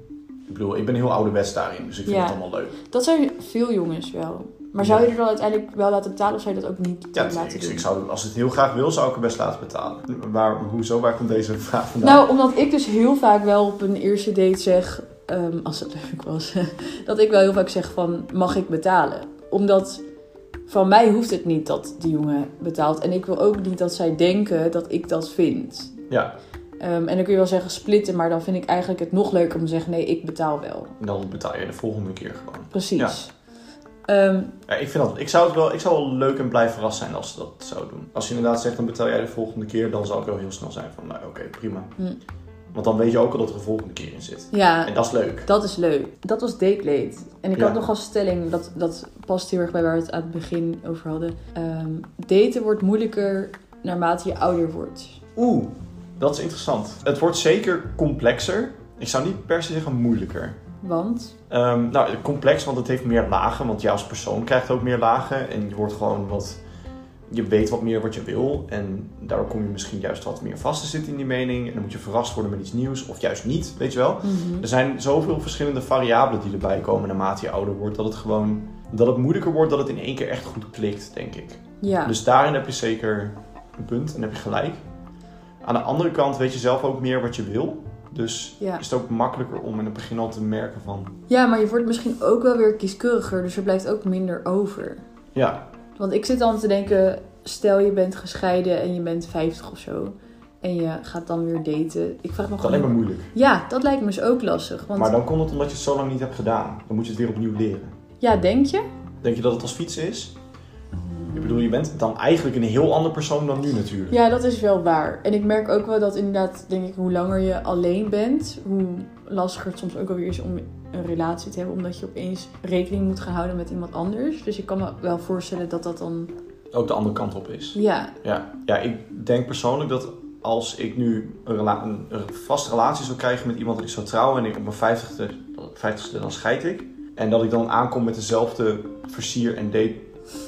Ik bedoel, ik ben heel ouderwets daarin, dus ik vind Ja. het allemaal leuk. Dat zijn veel jongens wel. Maar zou je er dan uiteindelijk wel laten betalen of zou je dat ook niet Ja, laten ik, doen? ik zou, als ik het heel graag wil, zou ik het best laten betalen. Maar hoezo, waar komt deze vraag vandaan? Nou, omdat ik dus heel vaak wel op een eerste date zeg, ehm, als het leuk was, dat ik wel heel vaak zeg van, mag ik betalen? Omdat van mij hoeft het niet dat die jongen betaalt. En ik wil ook niet dat zij denken dat ik dat vind. Ja, Ehm, en dan kun je wel zeggen splitten, maar dan vind ik eigenlijk het nog leuker om te zeggen, nee, ik betaal wel. dan betaal je de volgende keer gewoon. Precies. Ehm, Ja, ik, vind dat, ik, zou het wel, ik zou wel leuk en blij verrast zijn als ze dat zou doen. Als je inderdaad zegt, dan betaal jij de volgende keer, dan zou ik wel heel snel zijn van, nou oké, prima. Hm. Want dan weet je ook al dat er een volgende keer in zit. ja, En dat is leuk. dat is leuk. Dat was datelate. En ik Ja. had nog als stelling, dat, dat past heel erg bij waar we het aan het begin over hadden. Ehm, daten wordt moeilijker naarmate je ouder wordt. Oeh, dat is interessant. Het wordt zeker complexer. Ik zou niet per se zeggen moeilijker. Want, Ehm, nou, complex, want het heeft meer lagen. Want jij als persoon krijgt ook meer lagen. En je wordt gewoon wat... Je weet wat meer wat je wil. En daardoor kom je misschien juist wat meer vast te zitten in die mening. En dan moet je verrast worden met iets nieuws. Of juist niet, weet je wel. Mhm. Er zijn zoveel verschillende variabelen die erbij komen naarmate je ouder wordt. Dat het gewoon... Dat het moeilijker wordt dat het in één keer echt goed klikt, denk ik. ja, Dus daarin heb je zeker een punt en heb je gelijk. Aan de andere kant weet je zelf ook meer wat je wil. Dus ja. is het ook makkelijker om in het begin al te merken van... ja, maar je wordt misschien ook wel weer kieskeuriger, dus er blijft ook minder over. Ja, Want ik zit dan te denken, stel je bent gescheiden en je bent 50 of zo. En je gaat dan weer daten. Ik vraag me het is alleen maar gewoon... moeilijk. Ja, dat lijkt me dus ook lastig. Want Maar dan komt het omdat je het zo lang niet hebt gedaan. Dan moet je het weer opnieuw leren. ja, denk je? Denk je dat het als fietsen is? Ik bedoel, je bent dan eigenlijk een heel ander persoon dan nu natuurlijk. Ja, dat is wel waar. En ik merk ook wel dat inderdaad, denk ik, hoe langer je alleen bent, hoe lastiger het soms ook alweer is om een relatie te hebben. Omdat je opeens rekening moet gaan houden met iemand anders. Dus ik kan me wel voorstellen dat dat dan. Ook de andere kant op is. Ja, Ja, ja ik denk persoonlijk dat als ik nu een, rela- een, een vaste relatie zou krijgen met iemand dat ik zou trouwen en ik op mijn vijftigste, vijftigste dan scheid ik. En dat ik dan aankom met dezelfde versier en date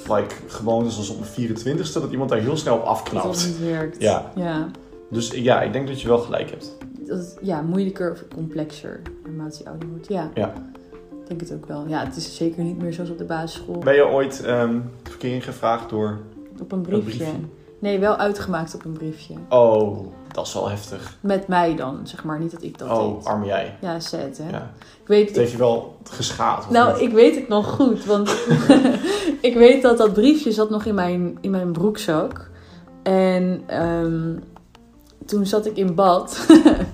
like, gewoontes als op mijn 24ste, dat iemand daar heel snel op Dat dat afknapt. niet werkt. Ja. ja. Dus ja, ik denk dat je wel gelijk hebt. dat is, ja, moeilijker of complexer naarmate je ouder wordt. Ja. Ja. Ik denk het ook wel. Ja, het is zeker niet meer zoals op de basisschool. Ben je ooit ehm verkering gevraagd door... Op een briefje. briefje. Nee, wel uitgemaakt op een briefje. Oh, dat is wel heftig. Met mij dan, zeg maar. Niet dat ik dat Oh, deed. arm jij. Ja, sad, hè. Ja. Ik weet, Het heeft je wel geschaad. of Nou, niet? ik weet het nog goed, want ik weet dat dat briefje zat nog in mijn, in mijn broekzak. En ehm, toen zat ik in bad.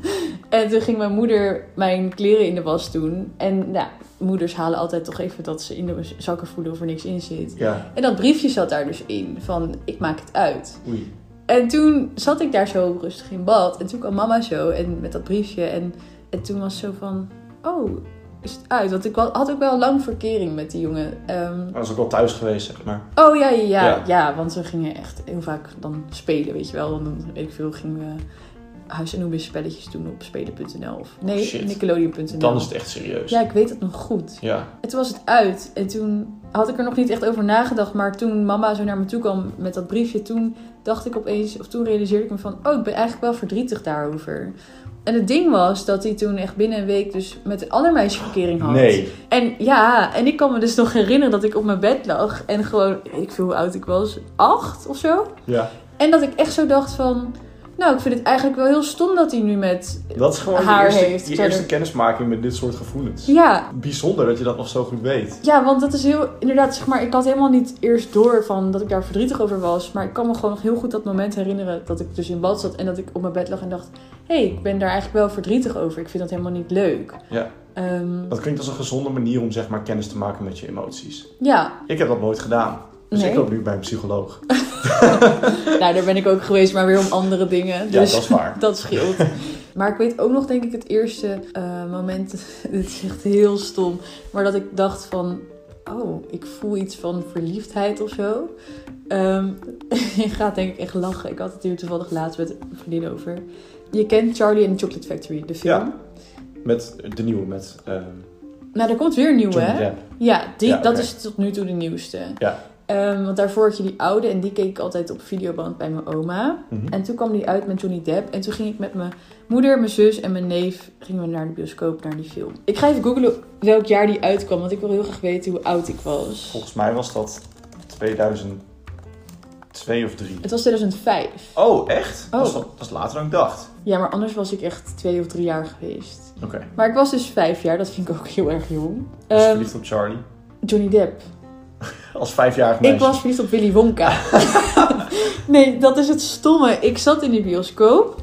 en toen ging mijn moeder mijn kleren in de was doen. En nou, moeders halen altijd toch even dat ze in de zakken voelen of er niks in zit. Ja, En dat briefje zat daar dus in, van ik maak het uit. oei. En toen zat ik daar zo rustig in bad. En toen kwam mama zo en met dat briefje. En, en toen was zo van, oh, is het uit? Want ik wa- had ook wel lang verkering met die jongen. Ehm, Oh, Dat was ook wel thuis geweest, zeg maar. oh ja, ja, ja, Ja. ja, Want we gingen echt heel vaak dan spelen, weet je wel. Want dan, weet ik veel, gingen we Huis en Hoebis spelletjes doen op spelen.nl. Of nee, Oh, shit. Nickelodeon.nl. Dan is het echt serieus. Ja, ik weet het nog goed. Ja. En toen was het uit. En toen had ik er nog niet echt over nagedacht. Maar toen mama zo naar me toe kwam met dat briefje, toen dacht ik opeens, of toen realiseerde ik me van, oh, ik ben eigenlijk wel verdrietig daarover. En het ding was dat hij toen echt binnen een week dus met een ander meisje verkering had. Nee. En ja, en ik kan me dus nog herinneren dat ik op mijn bed lag en gewoon, weet ik veel hoe oud ik was, acht of zo. Ja. En dat ik echt zo dacht van, nou, ik vind het eigenlijk wel heel stom dat hij nu met... Dat is gewoon je Haar eerste, heeft, je verder. eerste kennismaking met dit soort gevoelens. Ja, Bijzonder dat je dat nog zo goed weet. Ja, want dat is heel, inderdaad, zeg maar, ik had helemaal niet eerst door van dat ik daar verdrietig over was. Maar ik kan me gewoon nog heel goed dat moment herinneren dat ik dus in bad zat en dat ik op mijn bed lag en dacht, hé, hey, ik ben daar eigenlijk wel verdrietig over. Ik vind dat helemaal niet leuk. Ja. Ehm, Dat klinkt als een gezonde manier om zeg maar kennis te maken met je emoties. ja, Ik heb dat nooit gedaan. Dus Nee. ik loop nu bij een psycholoog. nou, daar ben ik ook geweest, maar weer om andere dingen. Ja, Dus dat is waar. dat scheelt. Maar ik weet ook nog, denk ik, het eerste eh, moment. Dit is echt heel stom. Maar dat ik dacht van. Oh, ik voel iets van verliefdheid of zo. Ehm, je gaat denk ik echt lachen. Ik had het hier toevallig laatst met een vriendin over. Je kent Charlie and the Chocolate Factory, de film. Ja. Met de nieuwe, met ehm Nou, er komt weer een nieuwe, Johnny hè? Depp. Ja, die, Ja, dat oké. is tot nu toe de nieuwste. Ja. Ehm, want daarvoor had je die oude en die keek ik altijd op videoband bij mijn oma. Mhm. En toen kwam die uit met Johnny Depp. En toen ging ik met mijn moeder, mijn zus en mijn neef gingen we naar de bioscoop, naar die film. Ik ga even googlen welk jaar die uitkwam, want ik wil heel graag weten hoe oud ik was. Volgens mij was dat 2002 of 3. Het was 2005. Oh, echt? Dat, is, Oh. wel- dat is later dan ik dacht. Ja, maar anders was ik echt twee of drie jaar geweest. Oké. Maar ik was dus vijf jaar, dat vind ik ook heel erg jong. Dus Ehm, verliefd op Charlie. Johnny Depp. Als vijfjarig meisje. Ik was verliefd op Willy Wonka. nee, dat is het stomme. Ik zat in die bioscoop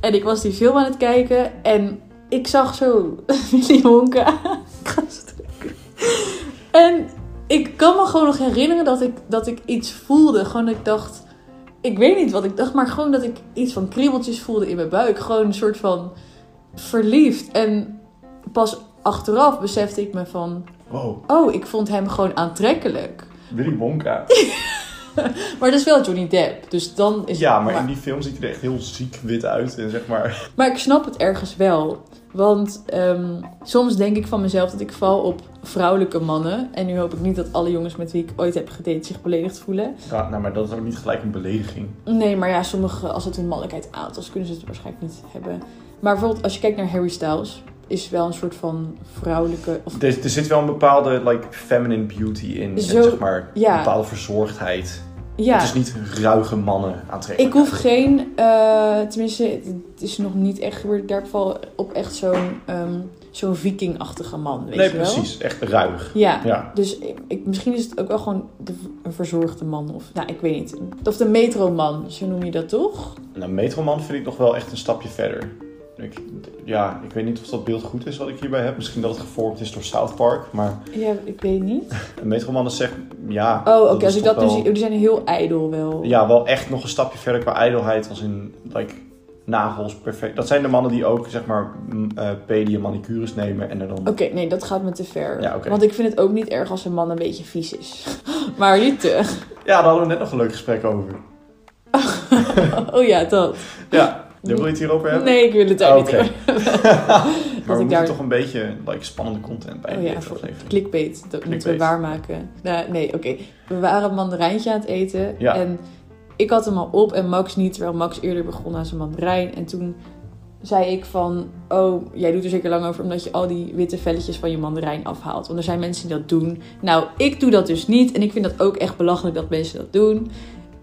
en ik was die film aan het kijken en ik zag zo Willy Wonka. Ik ga zo drukken. en ik kan me gewoon nog herinneren dat ik, dat ik iets voelde. Gewoon dat ik dacht, ik weet niet wat ik dacht, maar gewoon dat ik iets van kriebeltjes voelde in mijn buik. Gewoon een soort van verliefd. En pas achteraf besefte ik me van, Wow, oh, ik vond hem gewoon aantrekkelijk. Willy Wonka. Maar dat is wel Johnny Depp. Dus dan is Ja, maar in die film ziet hij er echt heel ziek wit uit. En zeg maar... Maar ik snap het ergens wel. Want ehm, soms denk ik van mezelf dat ik val op vrouwelijke mannen. En nu hoop ik niet dat alle jongens met wie ik ooit heb gedate zich beledigd voelen. Ja, nou, maar dat is ook niet gelijk een belediging. Nee, maar ja, sommige, als het hun mannelijkheid aantast, kunnen ze het waarschijnlijk niet hebben. Maar bijvoorbeeld als je kijkt naar Harry Styles, is wel een soort van vrouwelijke... Of, Er, er zit wel een bepaalde like, feminine beauty in. en Zo- zeg maar, ja. een bepaalde verzorgdheid. ja. Het is niet ruige mannen Ik aantrekkelijk. hoef geen, eh, tenminste, het is nog niet echt gebeurd. Ik heb wel op echt zo'n ehm zo'n vikingachtige man, weet Nee, je wel? precies. Echt ruig. Ja, Ja. Dus ik, ik- misschien is het ook wel gewoon de, een verzorgde man. Of nou, ik weet niet. Of de metroman, zo noem je dat toch? Nou, Metroman vind ik nog wel echt een stapje verder. Ik, ja, ik weet niet of dat beeld goed is wat ik hierbij heb. Misschien dat het gevormd is door South Park. Maar Ja, ik weet niet. een Metroman is zeg... Ja, Oh, oké, is als ik toch dat nu wel- zie. Die zijn heel ijdel wel. Ja, wel echt nog een stapje verder qua ijdelheid. Als in, like, nagels perfect. Dat zijn de mannen die ook, zeg maar, m- eh pedi en manicures nemen. En er dan... Oké, nee, dat gaat me te ver. Ja, oké. Want ik vind het ook niet erg als een man een beetje vies is. maar niet te. Ja, daar hadden we net nog een leuk gesprek over. oh ja, dat. Ja, daar wil je het hier over hebben? Nee, ik wil het daar Oh, niet oké. over maar we dat ik moeten daar... toch een beetje like, spannende content bij Oh deze ja, voor aflevering. clickbait, dat moeten we Clickbait. waarmaken. Nou, nee, oké. We waren een mandarijntje aan het eten. Ja. En ik had hem al op en Max niet, terwijl Max eerder begon aan zijn mandarijn. En toen zei ik van, oh, jij doet er zeker lang over omdat je al die witte velletjes van je mandarijn afhaalt. Want er zijn mensen die dat doen. Nou, ik doe dat dus niet. En ik vind dat ook echt belachelijk dat mensen dat doen.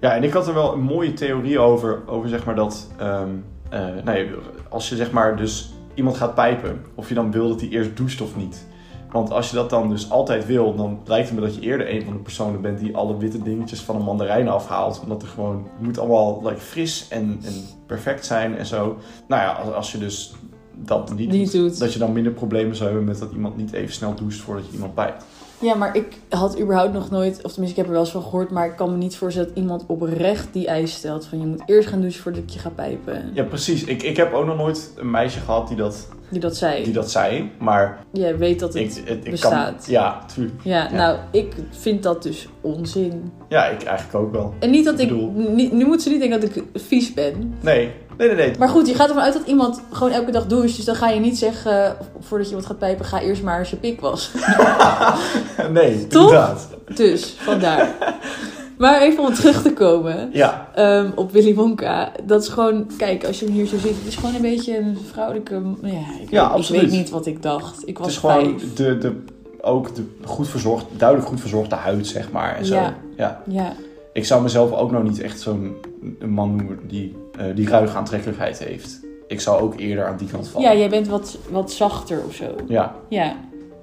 Ja, en ik had er wel een mooie theorie over, over zeg maar dat, ehm, eh, nee, als je zeg maar dus iemand gaat pijpen, of je dan wil dat hij eerst doucht of niet. Want als je dat dan dus altijd wil, dan lijkt het me dat je eerder een van de personen bent die alle witte dingetjes van een mandarijn afhaalt. Omdat er gewoon, het moet allemaal like, fris en, en perfect zijn en zo. Nou ja, als, als je dus dat niet, Niet doet. dat je dan minder problemen zou hebben met dat iemand niet even snel doucht voordat je iemand pijpt. Ja, maar ik had überhaupt nog nooit, of tenminste ik heb er wel eens van gehoord, maar ik kan me niet voorstellen dat iemand oprecht die eis stelt van je moet eerst gaan douchen voordat ik je gaat pijpen. Ja, precies. Ik, ik heb ook nog nooit een meisje gehad die dat, Die dat zei. die dat zei, maar... Jij weet dat Ik, het... het- ik bestaat. Kan, ja, tuurlijk. Ja, Ja. nou, ik vind dat dus onzin. Ja, ik eigenlijk ook wel. En niet dat Ik ik... bedoel- niet- nu moet ze niet denken dat ik vies ben. Nee, nee, nee, nee. Maar goed, je gaat ervan uit dat iemand gewoon elke dag doucht. Dus dan ga je niet zeggen, eh, voordat je wat gaat pijpen, ga eerst maar eens je pik was. nee, Toch? inderdaad. Dus, vandaar. Maar even om terug te komen Ja, ehm, op Willy Wonka. Dat is gewoon, kijk, als je hem hier zo ziet, het is gewoon een beetje een vrouwelijke... Ja, ik, Ja, weet, ik absoluut. weet niet wat ik dacht. Ik het is was gewoon vijf. de, de, ook de goed verzorgd, duidelijk goed verzorgde huid, zeg maar. En zo. Ja. Ja. Ja, Ik zou mezelf ook nog niet echt zo'n een man noemen die, eh, die ruige aantrekkelijkheid heeft. Ik zou ook eerder aan die kant vallen. ja jij bent wat, wat zachter of zo. Ja. Ja,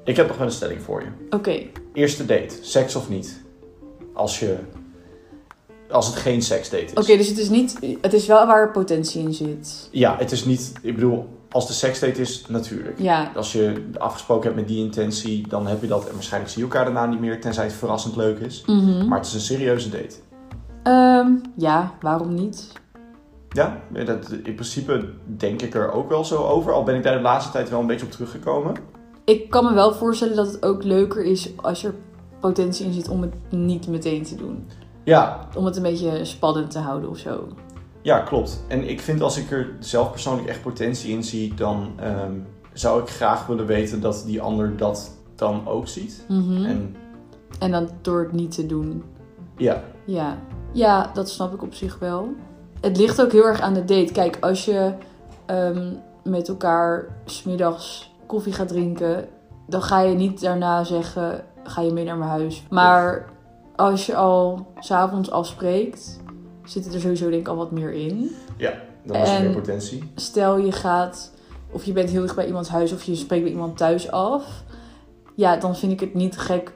Ik heb nog wel een stelling voor je. oké. Eerste date, seks of niet? Als je... Als het geen seksdate is. Oké, dus het is niet. Het is wel waar potentie in zit. Ja, het is niet... Ik bedoel, als de seksdate is, natuurlijk. Ja, Als je afgesproken hebt met die intentie, dan heb je dat. En waarschijnlijk zie je elkaar daarna niet meer, tenzij het verrassend leuk is. Mhm. Maar het is een serieuze date. Ehm, ja, waarom niet? Ja, dat, in principe denk ik er ook wel zo over. Al ben ik daar de laatste tijd wel een beetje op teruggekomen. Ik kan me wel voorstellen dat het ook leuker is als er potentie in zit om het niet meteen te doen. Ja, Om het een beetje spannend te houden of zo. ja klopt. En ik vind als ik er zelf persoonlijk echt potentie in zie, dan ehm, zou ik graag willen weten dat die ander dat dan ook ziet. Mhm. En... En dan door het niet te doen. ja, Ja. ja, dat snap ik op zich wel. Het ligt ook heel erg aan de date. Kijk, als je ehm, met elkaar smiddags koffie gaat drinken, dan ga je niet daarna zeggen: ga je mee naar mijn huis. Maar als je al s'avonds afspreekt, zit er sowieso denk ik al wat meer in. dan is er En- meer potentie. Stel je gaat, of je bent heel dicht bij iemands huis, of je spreekt bij iemand thuis af. Ja, dan vind ik het niet gek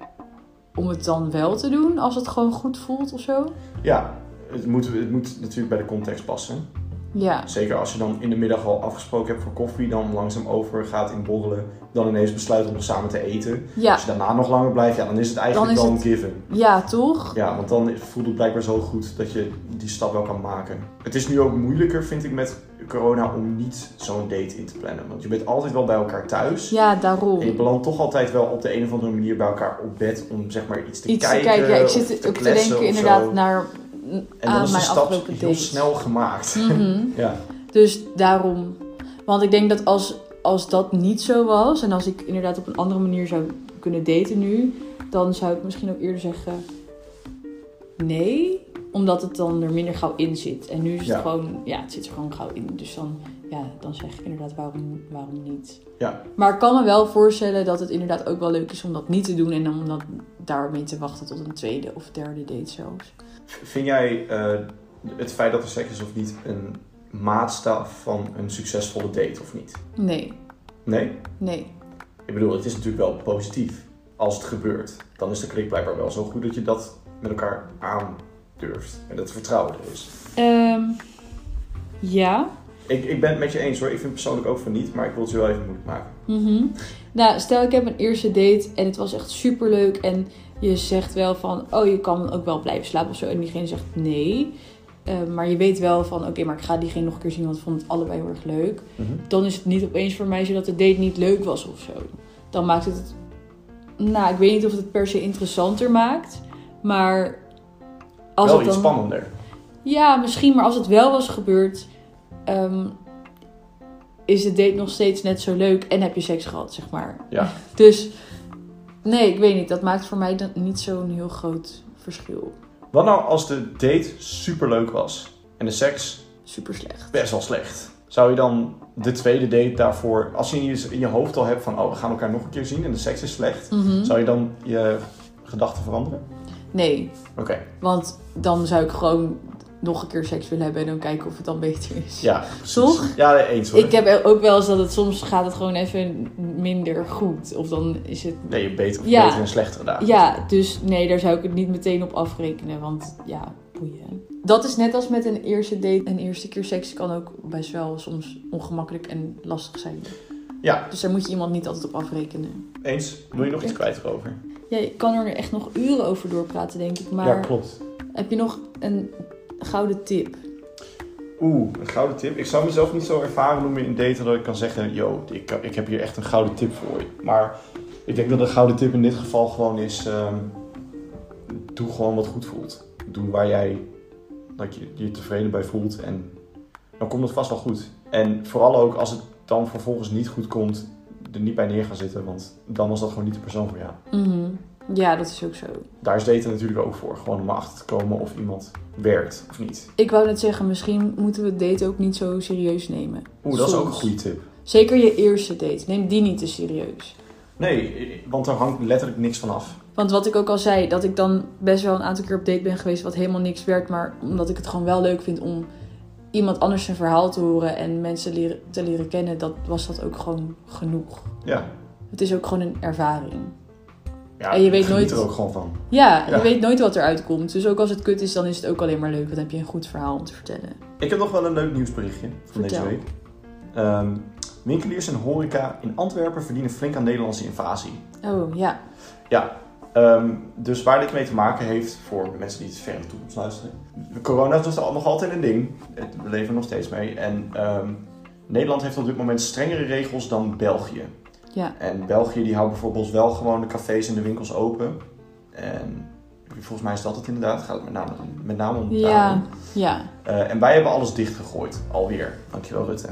om het dan wel te doen, als het gewoon goed voelt of zo. Ja, het moet, het moet natuurlijk bij de context passen. Ja. Zeker als je dan in de middag al afgesproken hebt voor koffie, dan langzaam overgaat in borrelen, dan ineens besluit om nog samen te eten. Ja, Als je daarna nog langer blijft, ja, dan is het eigenlijk Dan is wel het- een given. Ja, toch? Ja, want dan voelt het blijkbaar zo goed dat je die stap wel kan maken. Het is nu ook moeilijker, vind ik, met corona om niet zo'n date in te plannen. Want je bent altijd wel bij elkaar thuis. Ja, daarom. En je belandt toch altijd wel op de een of andere manier bij elkaar op bed om zeg maar iets te Iets kijken. te kijken. Ja, ik of zit ook te kletsen denken of zo. inderdaad naar En dan aan is de mijn stap afgelopen heel date. snel gemaakt. Mhm. Ja. Dus daarom. Want ik denk dat als, als dat niet zo was en als ik inderdaad op een andere manier zou kunnen daten nu, dan zou ik misschien ook eerder zeggen nee, omdat het dan er minder gauw in zit. En nu is het Ja. gewoon, ja, het zit er gewoon gauw in. Dus dan, ja, dan zeg ik inderdaad waarom, waarom niet. Ja. Maar ik kan me wel voorstellen dat het inderdaad ook wel leuk is om dat niet te doen en om dan daarmee te wachten tot een tweede of derde date zelfs. Vind jij eh, het feit dat er seks is of niet een maatstaf van een succesvolle date of niet? Nee, Nee? nee. Ik bedoel, het is natuurlijk wel positief als het gebeurt. Dan is de klik blijkbaar wel zo goed dat je dat met elkaar aandurft. En dat het vertrouwen er is. Ehm, ja. Ik, ik ben het met je eens hoor. Ik vind het persoonlijk ook van niet, maar ik wil het je wel even moeilijk maken. Mhm. Nou, stel ik heb een eerste date en het was echt super leuk. En je zegt wel van, oh je kan ook wel blijven slapen of zo. En diegene zegt nee. Eh, maar je weet wel van, oké, maar ik ga diegene nog een keer zien, want we vonden het allebei heel erg leuk. Dan is het niet opeens voor mij zo dat de date niet leuk was of zo. Dan maakt het, het- nou, ik weet niet of het het per se interessanter maakt. Maar als wel het iets dan... spannender. Ja, misschien, maar als het wel was gebeurd, ehm, is het date nog steeds net zo leuk en heb je seks gehad, zeg maar. Ja. Dus nee, ik weet niet. Dat maakt voor mij dan niet zo'n heel groot verschil. Wat nou als de date superleuk was en de seks Super slecht. best wel slecht? Zou je dan de tweede date daarvoor, als je in je, in je hoofd al hebt van oh, we gaan elkaar nog een keer zien en de seks is slecht, Mhm. zou je dan je gedachten veranderen? Nee, Oké, want dan zou ik gewoon nog een keer seks willen hebben en dan kijken of het dan beter is. ja. precies. Toch? Ja, nee, eens hoor. Ik heb ook wel eens dat het soms gaat het gewoon even minder goed. Of dan is het Nee, je hebt beter, Ja. beter en slechtere dagen. Ja, dus nee, daar zou ik het niet meteen op afrekenen. Want ja, boeien. Dat is net als met een eerste date. Een eerste keer seks kan ook best wel soms ongemakkelijk en lastig zijn. Ja. Dus daar moet je iemand niet altijd op afrekenen. Eens. Wil je nog iets kwijt erover? Ja, ik kan er echt nog uren over doorpraten, denk ik. Maar Ja, klopt. heb je nog een gouden tip? Oeh, een gouden tip. Ik zou mezelf niet zo ervaren noemen in daten dat ik kan zeggen, yo, ik, ik heb hier echt een gouden tip voor je. Maar ik denk dat een gouden tip in dit geval gewoon is, ehm, doe gewoon wat goed voelt. Doe waar jij dat je je tevreden bij voelt en dan komt het vast wel goed. En vooral ook als het dan vervolgens niet goed komt, er niet bij neer gaan zitten, want dan was dat gewoon niet de persoon voor jou. Mhm. Ja, dat is ook zo. Daar is daten natuurlijk ook voor, gewoon om achter te komen of iemand werkt of niet. Ik wou net zeggen, misschien moeten we het date ook niet zo serieus nemen. Oeh, dat is ook een Soms. goede tip. Zeker je eerste date. Neem die niet te serieus. Nee, want er hangt letterlijk niks van af. Want wat ik ook al zei, dat ik dan best wel een aantal keer op date ben geweest wat helemaal niks werd. Maar omdat ik het gewoon wel leuk vind om iemand anders zijn verhaal te horen en mensen leren, te leren kennen, dat was dat ook gewoon genoeg. Ja. Het is ook gewoon een ervaring. ja En je weet geniet nooit- er ook gewoon van. Ja, Ja. je weet nooit wat eruit komt. Dus ook als het kut is, dan is het ook alleen maar leuk. Want dan heb je een goed verhaal om te vertellen. Ik heb nog wel een leuk nieuwsberichtje van Vertel. deze week. Ehm, winkeliers en horeca in Antwerpen verdienen flink aan Nederlandse invasie. Oh ja. Ehm, dus waar dit mee te maken heeft voor de mensen die het ver in de toekomst luisteren. Corona is nog al- nog altijd een ding. Het- We leven er nog steeds mee. En ehm, Nederland heeft op dit moment strengere regels dan België. Ja. En België die houdt bijvoorbeeld wel gewoon de cafés en de winkels open. En volgens mij is dat het inderdaad. Gaat het met name, met name om daarom. Ja, ja. Eh, en wij hebben alles dichtgegooid, alweer. Dankjewel Rutte.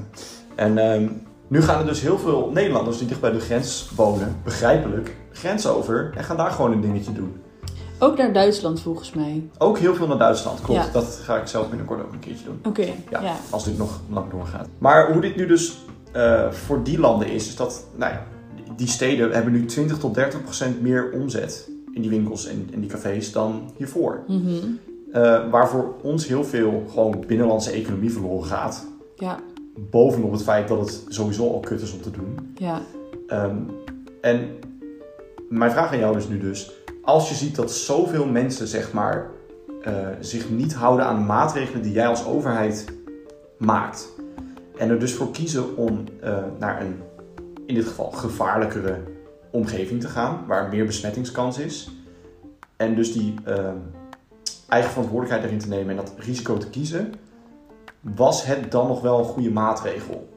En ehm, nu gaan er dus heel veel Nederlanders die dicht bij de grens wonen, begrijpelijk, grens over en gaan daar gewoon een dingetje doen. Ook naar Duitsland volgens mij. Ook heel veel naar Duitsland, klopt. Ja. Dat ga ik zelf binnenkort ook een keertje doen. Oké, Ja, ja. als dit nog lang doorgaat. Maar hoe dit nu dus eh, voor die landen is, is dat nou ja, die steden hebben nu 20 tot 30 procent meer omzet in die winkels en in die cafés dan hiervoor. Mhm. Eh, waar voor ons heel veel gewoon binnenlandse economie verloren gaat. Ja, bovenop het feit dat het sowieso al kut is om te doen. ja. Ehm, en mijn vraag aan jou is nu dus, als je ziet dat zoveel mensen zeg maar eh, zich niet houden aan maatregelen die jij als overheid maakt, en er dus voor kiezen om eh, naar een in dit geval gevaarlijkere omgeving te gaan, waar meer besmettingskans is, en dus die ehm, eigen verantwoordelijkheid erin te nemen en dat risico te kiezen, was het dan nog wel een goede maatregel?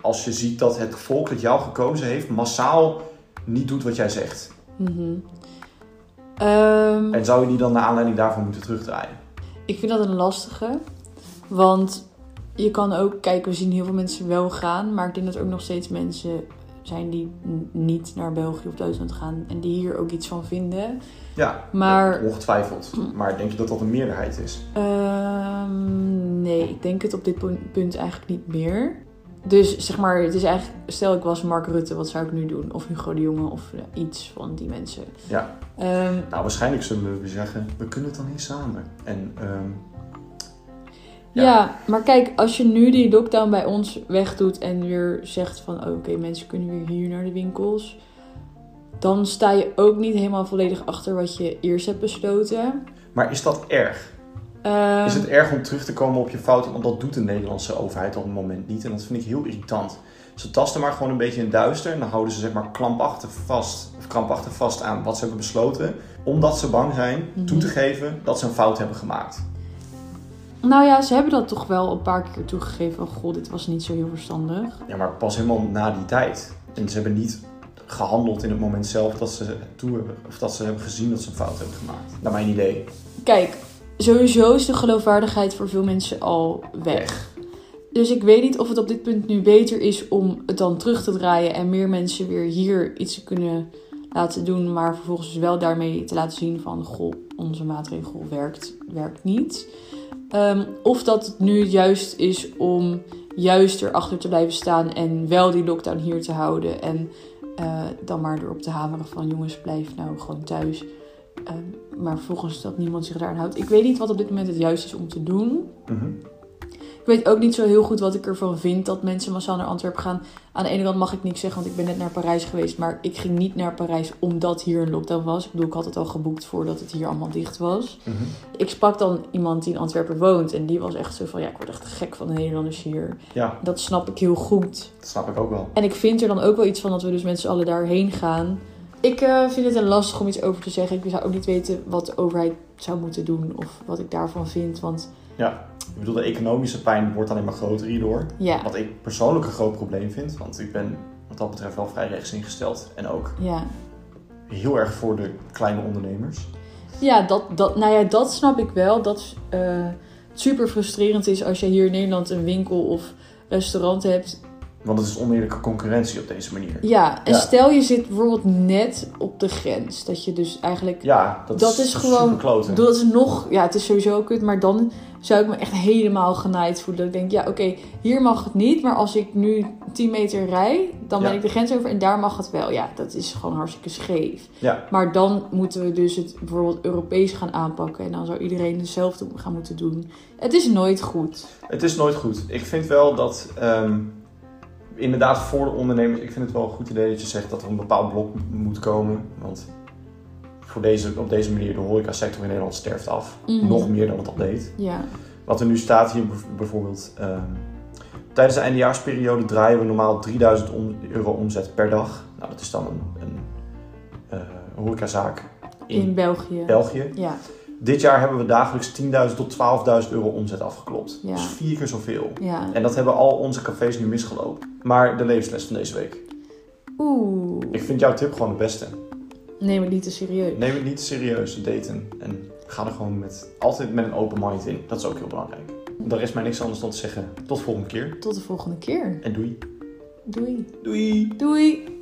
Als je ziet dat het volk dat jou gekozen heeft massaal niet doet wat jij zegt. Mhm. Ehm, En zou je die dan naar aanleiding daarvan moeten terugdraaien? Ik vind dat een lastige. Want je kan ook kijken, we zien heel veel mensen wel gaan. Maar ik denk dat er ook nog steeds mensen zijn die n- niet naar België of Duitsland gaan. En die hier ook iets van vinden. Ja, Maar- Mm. ongetwijfeld. Maar denk je dat dat een meerderheid is? Ehm, nee, ik denk het op dit pun- punt eigenlijk niet meer. Dus zeg maar, het is eigenlijk, stel ik was Mark Rutte, wat zou ik nu doen? Of Hugo de Jonge of eh, iets van die mensen. Ja. Ehm, Nou, waarschijnlijk zullen we weer zeggen, we kunnen het dan niet samen. En ehm, Ja. Ja. maar kijk, als je nu die lockdown bij ons wegdoet en weer zegt van oh, oké, mensen kunnen weer hier naar de winkels. Dan sta je ook niet helemaal volledig achter wat je eerst hebt besloten. Maar is dat erg? Ehm, Is het erg om terug te komen op je fouten? Want dat doet de Nederlandse overheid op het moment niet. En dat vind ik heel irritant. Ze tasten maar gewoon een beetje in het duister. En dan houden ze zeg maar klampachtig vast, of krampachtig vast aan wat ze hebben besloten. Omdat ze bang zijn toe te Mhm. geven dat ze een fout hebben gemaakt. Nou ja, ze hebben dat toch wel een paar keer toegegeven. Van goh, dit was niet zo heel verstandig. Ja, maar pas helemaal na die tijd. En ze hebben niet gehandeld in het moment zelf dat ze, toe hebben, of dat ze hebben gezien dat ze een fout hebben gemaakt. Naar mijn idee. Kijk, sowieso is de geloofwaardigheid voor veel mensen al weg. Dus ik weet niet of het op dit punt nu beter is om het dan terug te draaien en meer mensen weer hier iets te kunnen laten doen, maar vervolgens dus wel daarmee te laten zien van goh, onze maatregel werkt, werkt niet. Ehm, of dat het nu juist is om juist erachter te blijven staan en wel die lockdown hier te houden en eh, dan maar erop te hameren van jongens, blijf nou gewoon thuis. Ehm, maar vervolgens dat niemand zich daaraan houdt. Ik weet niet wat op dit moment het juiste is om te doen. Mhm. Ik weet ook niet zo heel goed wat ik ervan vind dat mensen massaal naar Antwerpen gaan. Aan de ene kant mag ik niks zeggen, want ik ben net naar Parijs geweest. Maar ik ging niet naar Parijs omdat hier een lockdown was. Ik bedoel, ik had het al geboekt voordat het hier allemaal dicht was. Mhm. Ik sprak dan iemand die in Antwerpen woont. En die was echt zo van, ja, ik word echt gek van de Nederlanders hier. Ja, Dat snap ik heel goed. dat snap ik ook wel. En ik vind er dan ook wel iets van dat we dus met z'n allen daarheen gaan. Ik eh, vind het een lastig om iets over te zeggen. Ik zou ook niet weten wat de overheid zou moeten doen of wat ik daarvan vind. Want Ik bedoel, de economische pijn wordt alleen maar groter hierdoor. ja, Wat ik persoonlijk een groot probleem vind, want ik ben wat dat betreft wel vrij rechts ingesteld. En ook ja. heel erg voor de kleine ondernemers. Ja, dat, dat, nou ja, dat snap ik wel. Dat eh super frustrerend is als je hier in Nederland een winkel of restaurant hebt. Want het is oneerlijke concurrentie op deze manier. Ja, en Ja. stel je zit bijvoorbeeld net op de grens. Dat je dus eigenlijk... Ja, dat, Dat is gewoon- superkloten. Dat is nog... Ja, het is sowieso kut, maar dan zou ik me echt helemaal genaaid voelen. Dat ik denk, ja, oké, hier mag het niet. Maar als ik nu 10 meter rij, dan ben Ja. ik de grens over en daar mag het wel. Ja, dat is gewoon hartstikke scheef. Ja, Maar dan moeten we dus het bijvoorbeeld Europees gaan aanpakken. En dan zou iedereen hetzelfde gaan moeten doen. Het is nooit goed. het is nooit goed. Ik vind wel dat, ehm, inderdaad voor de ondernemers, ik vind het wel een goed idee dat je zegt dat er een bepaald blok m- moet komen. Want voor deze, op deze manier de horecasector in Nederland sterft af. Mhm. Nog meer dan het al deed. Ja, Wat er nu staat hier bijv- bijvoorbeeld. ehm, tijdens de eindejaarsperiode draaien we normaal 3000 om- euro omzet per dag. Nou, dat is dan een, een eh, horecazaak in, in, België. België. Ja, Dit jaar hebben we dagelijks 10.000 tot 12.000 euro omzet afgeklopt. Ja. Dus vier keer zoveel. ja. En dat hebben al onze cafés nu misgelopen. Maar de levensles van deze week. Oeh. Ik vind jouw tip gewoon het beste. Neem het niet te serieus. Neem het niet serieus, daten. En ga er gewoon met, altijd met een open mind in. Dat is ook heel belangrijk. Daar is mij niks anders dan te zeggen. Tot volgende keer. Tot de volgende keer. En doei. Doei. Doei. Doei.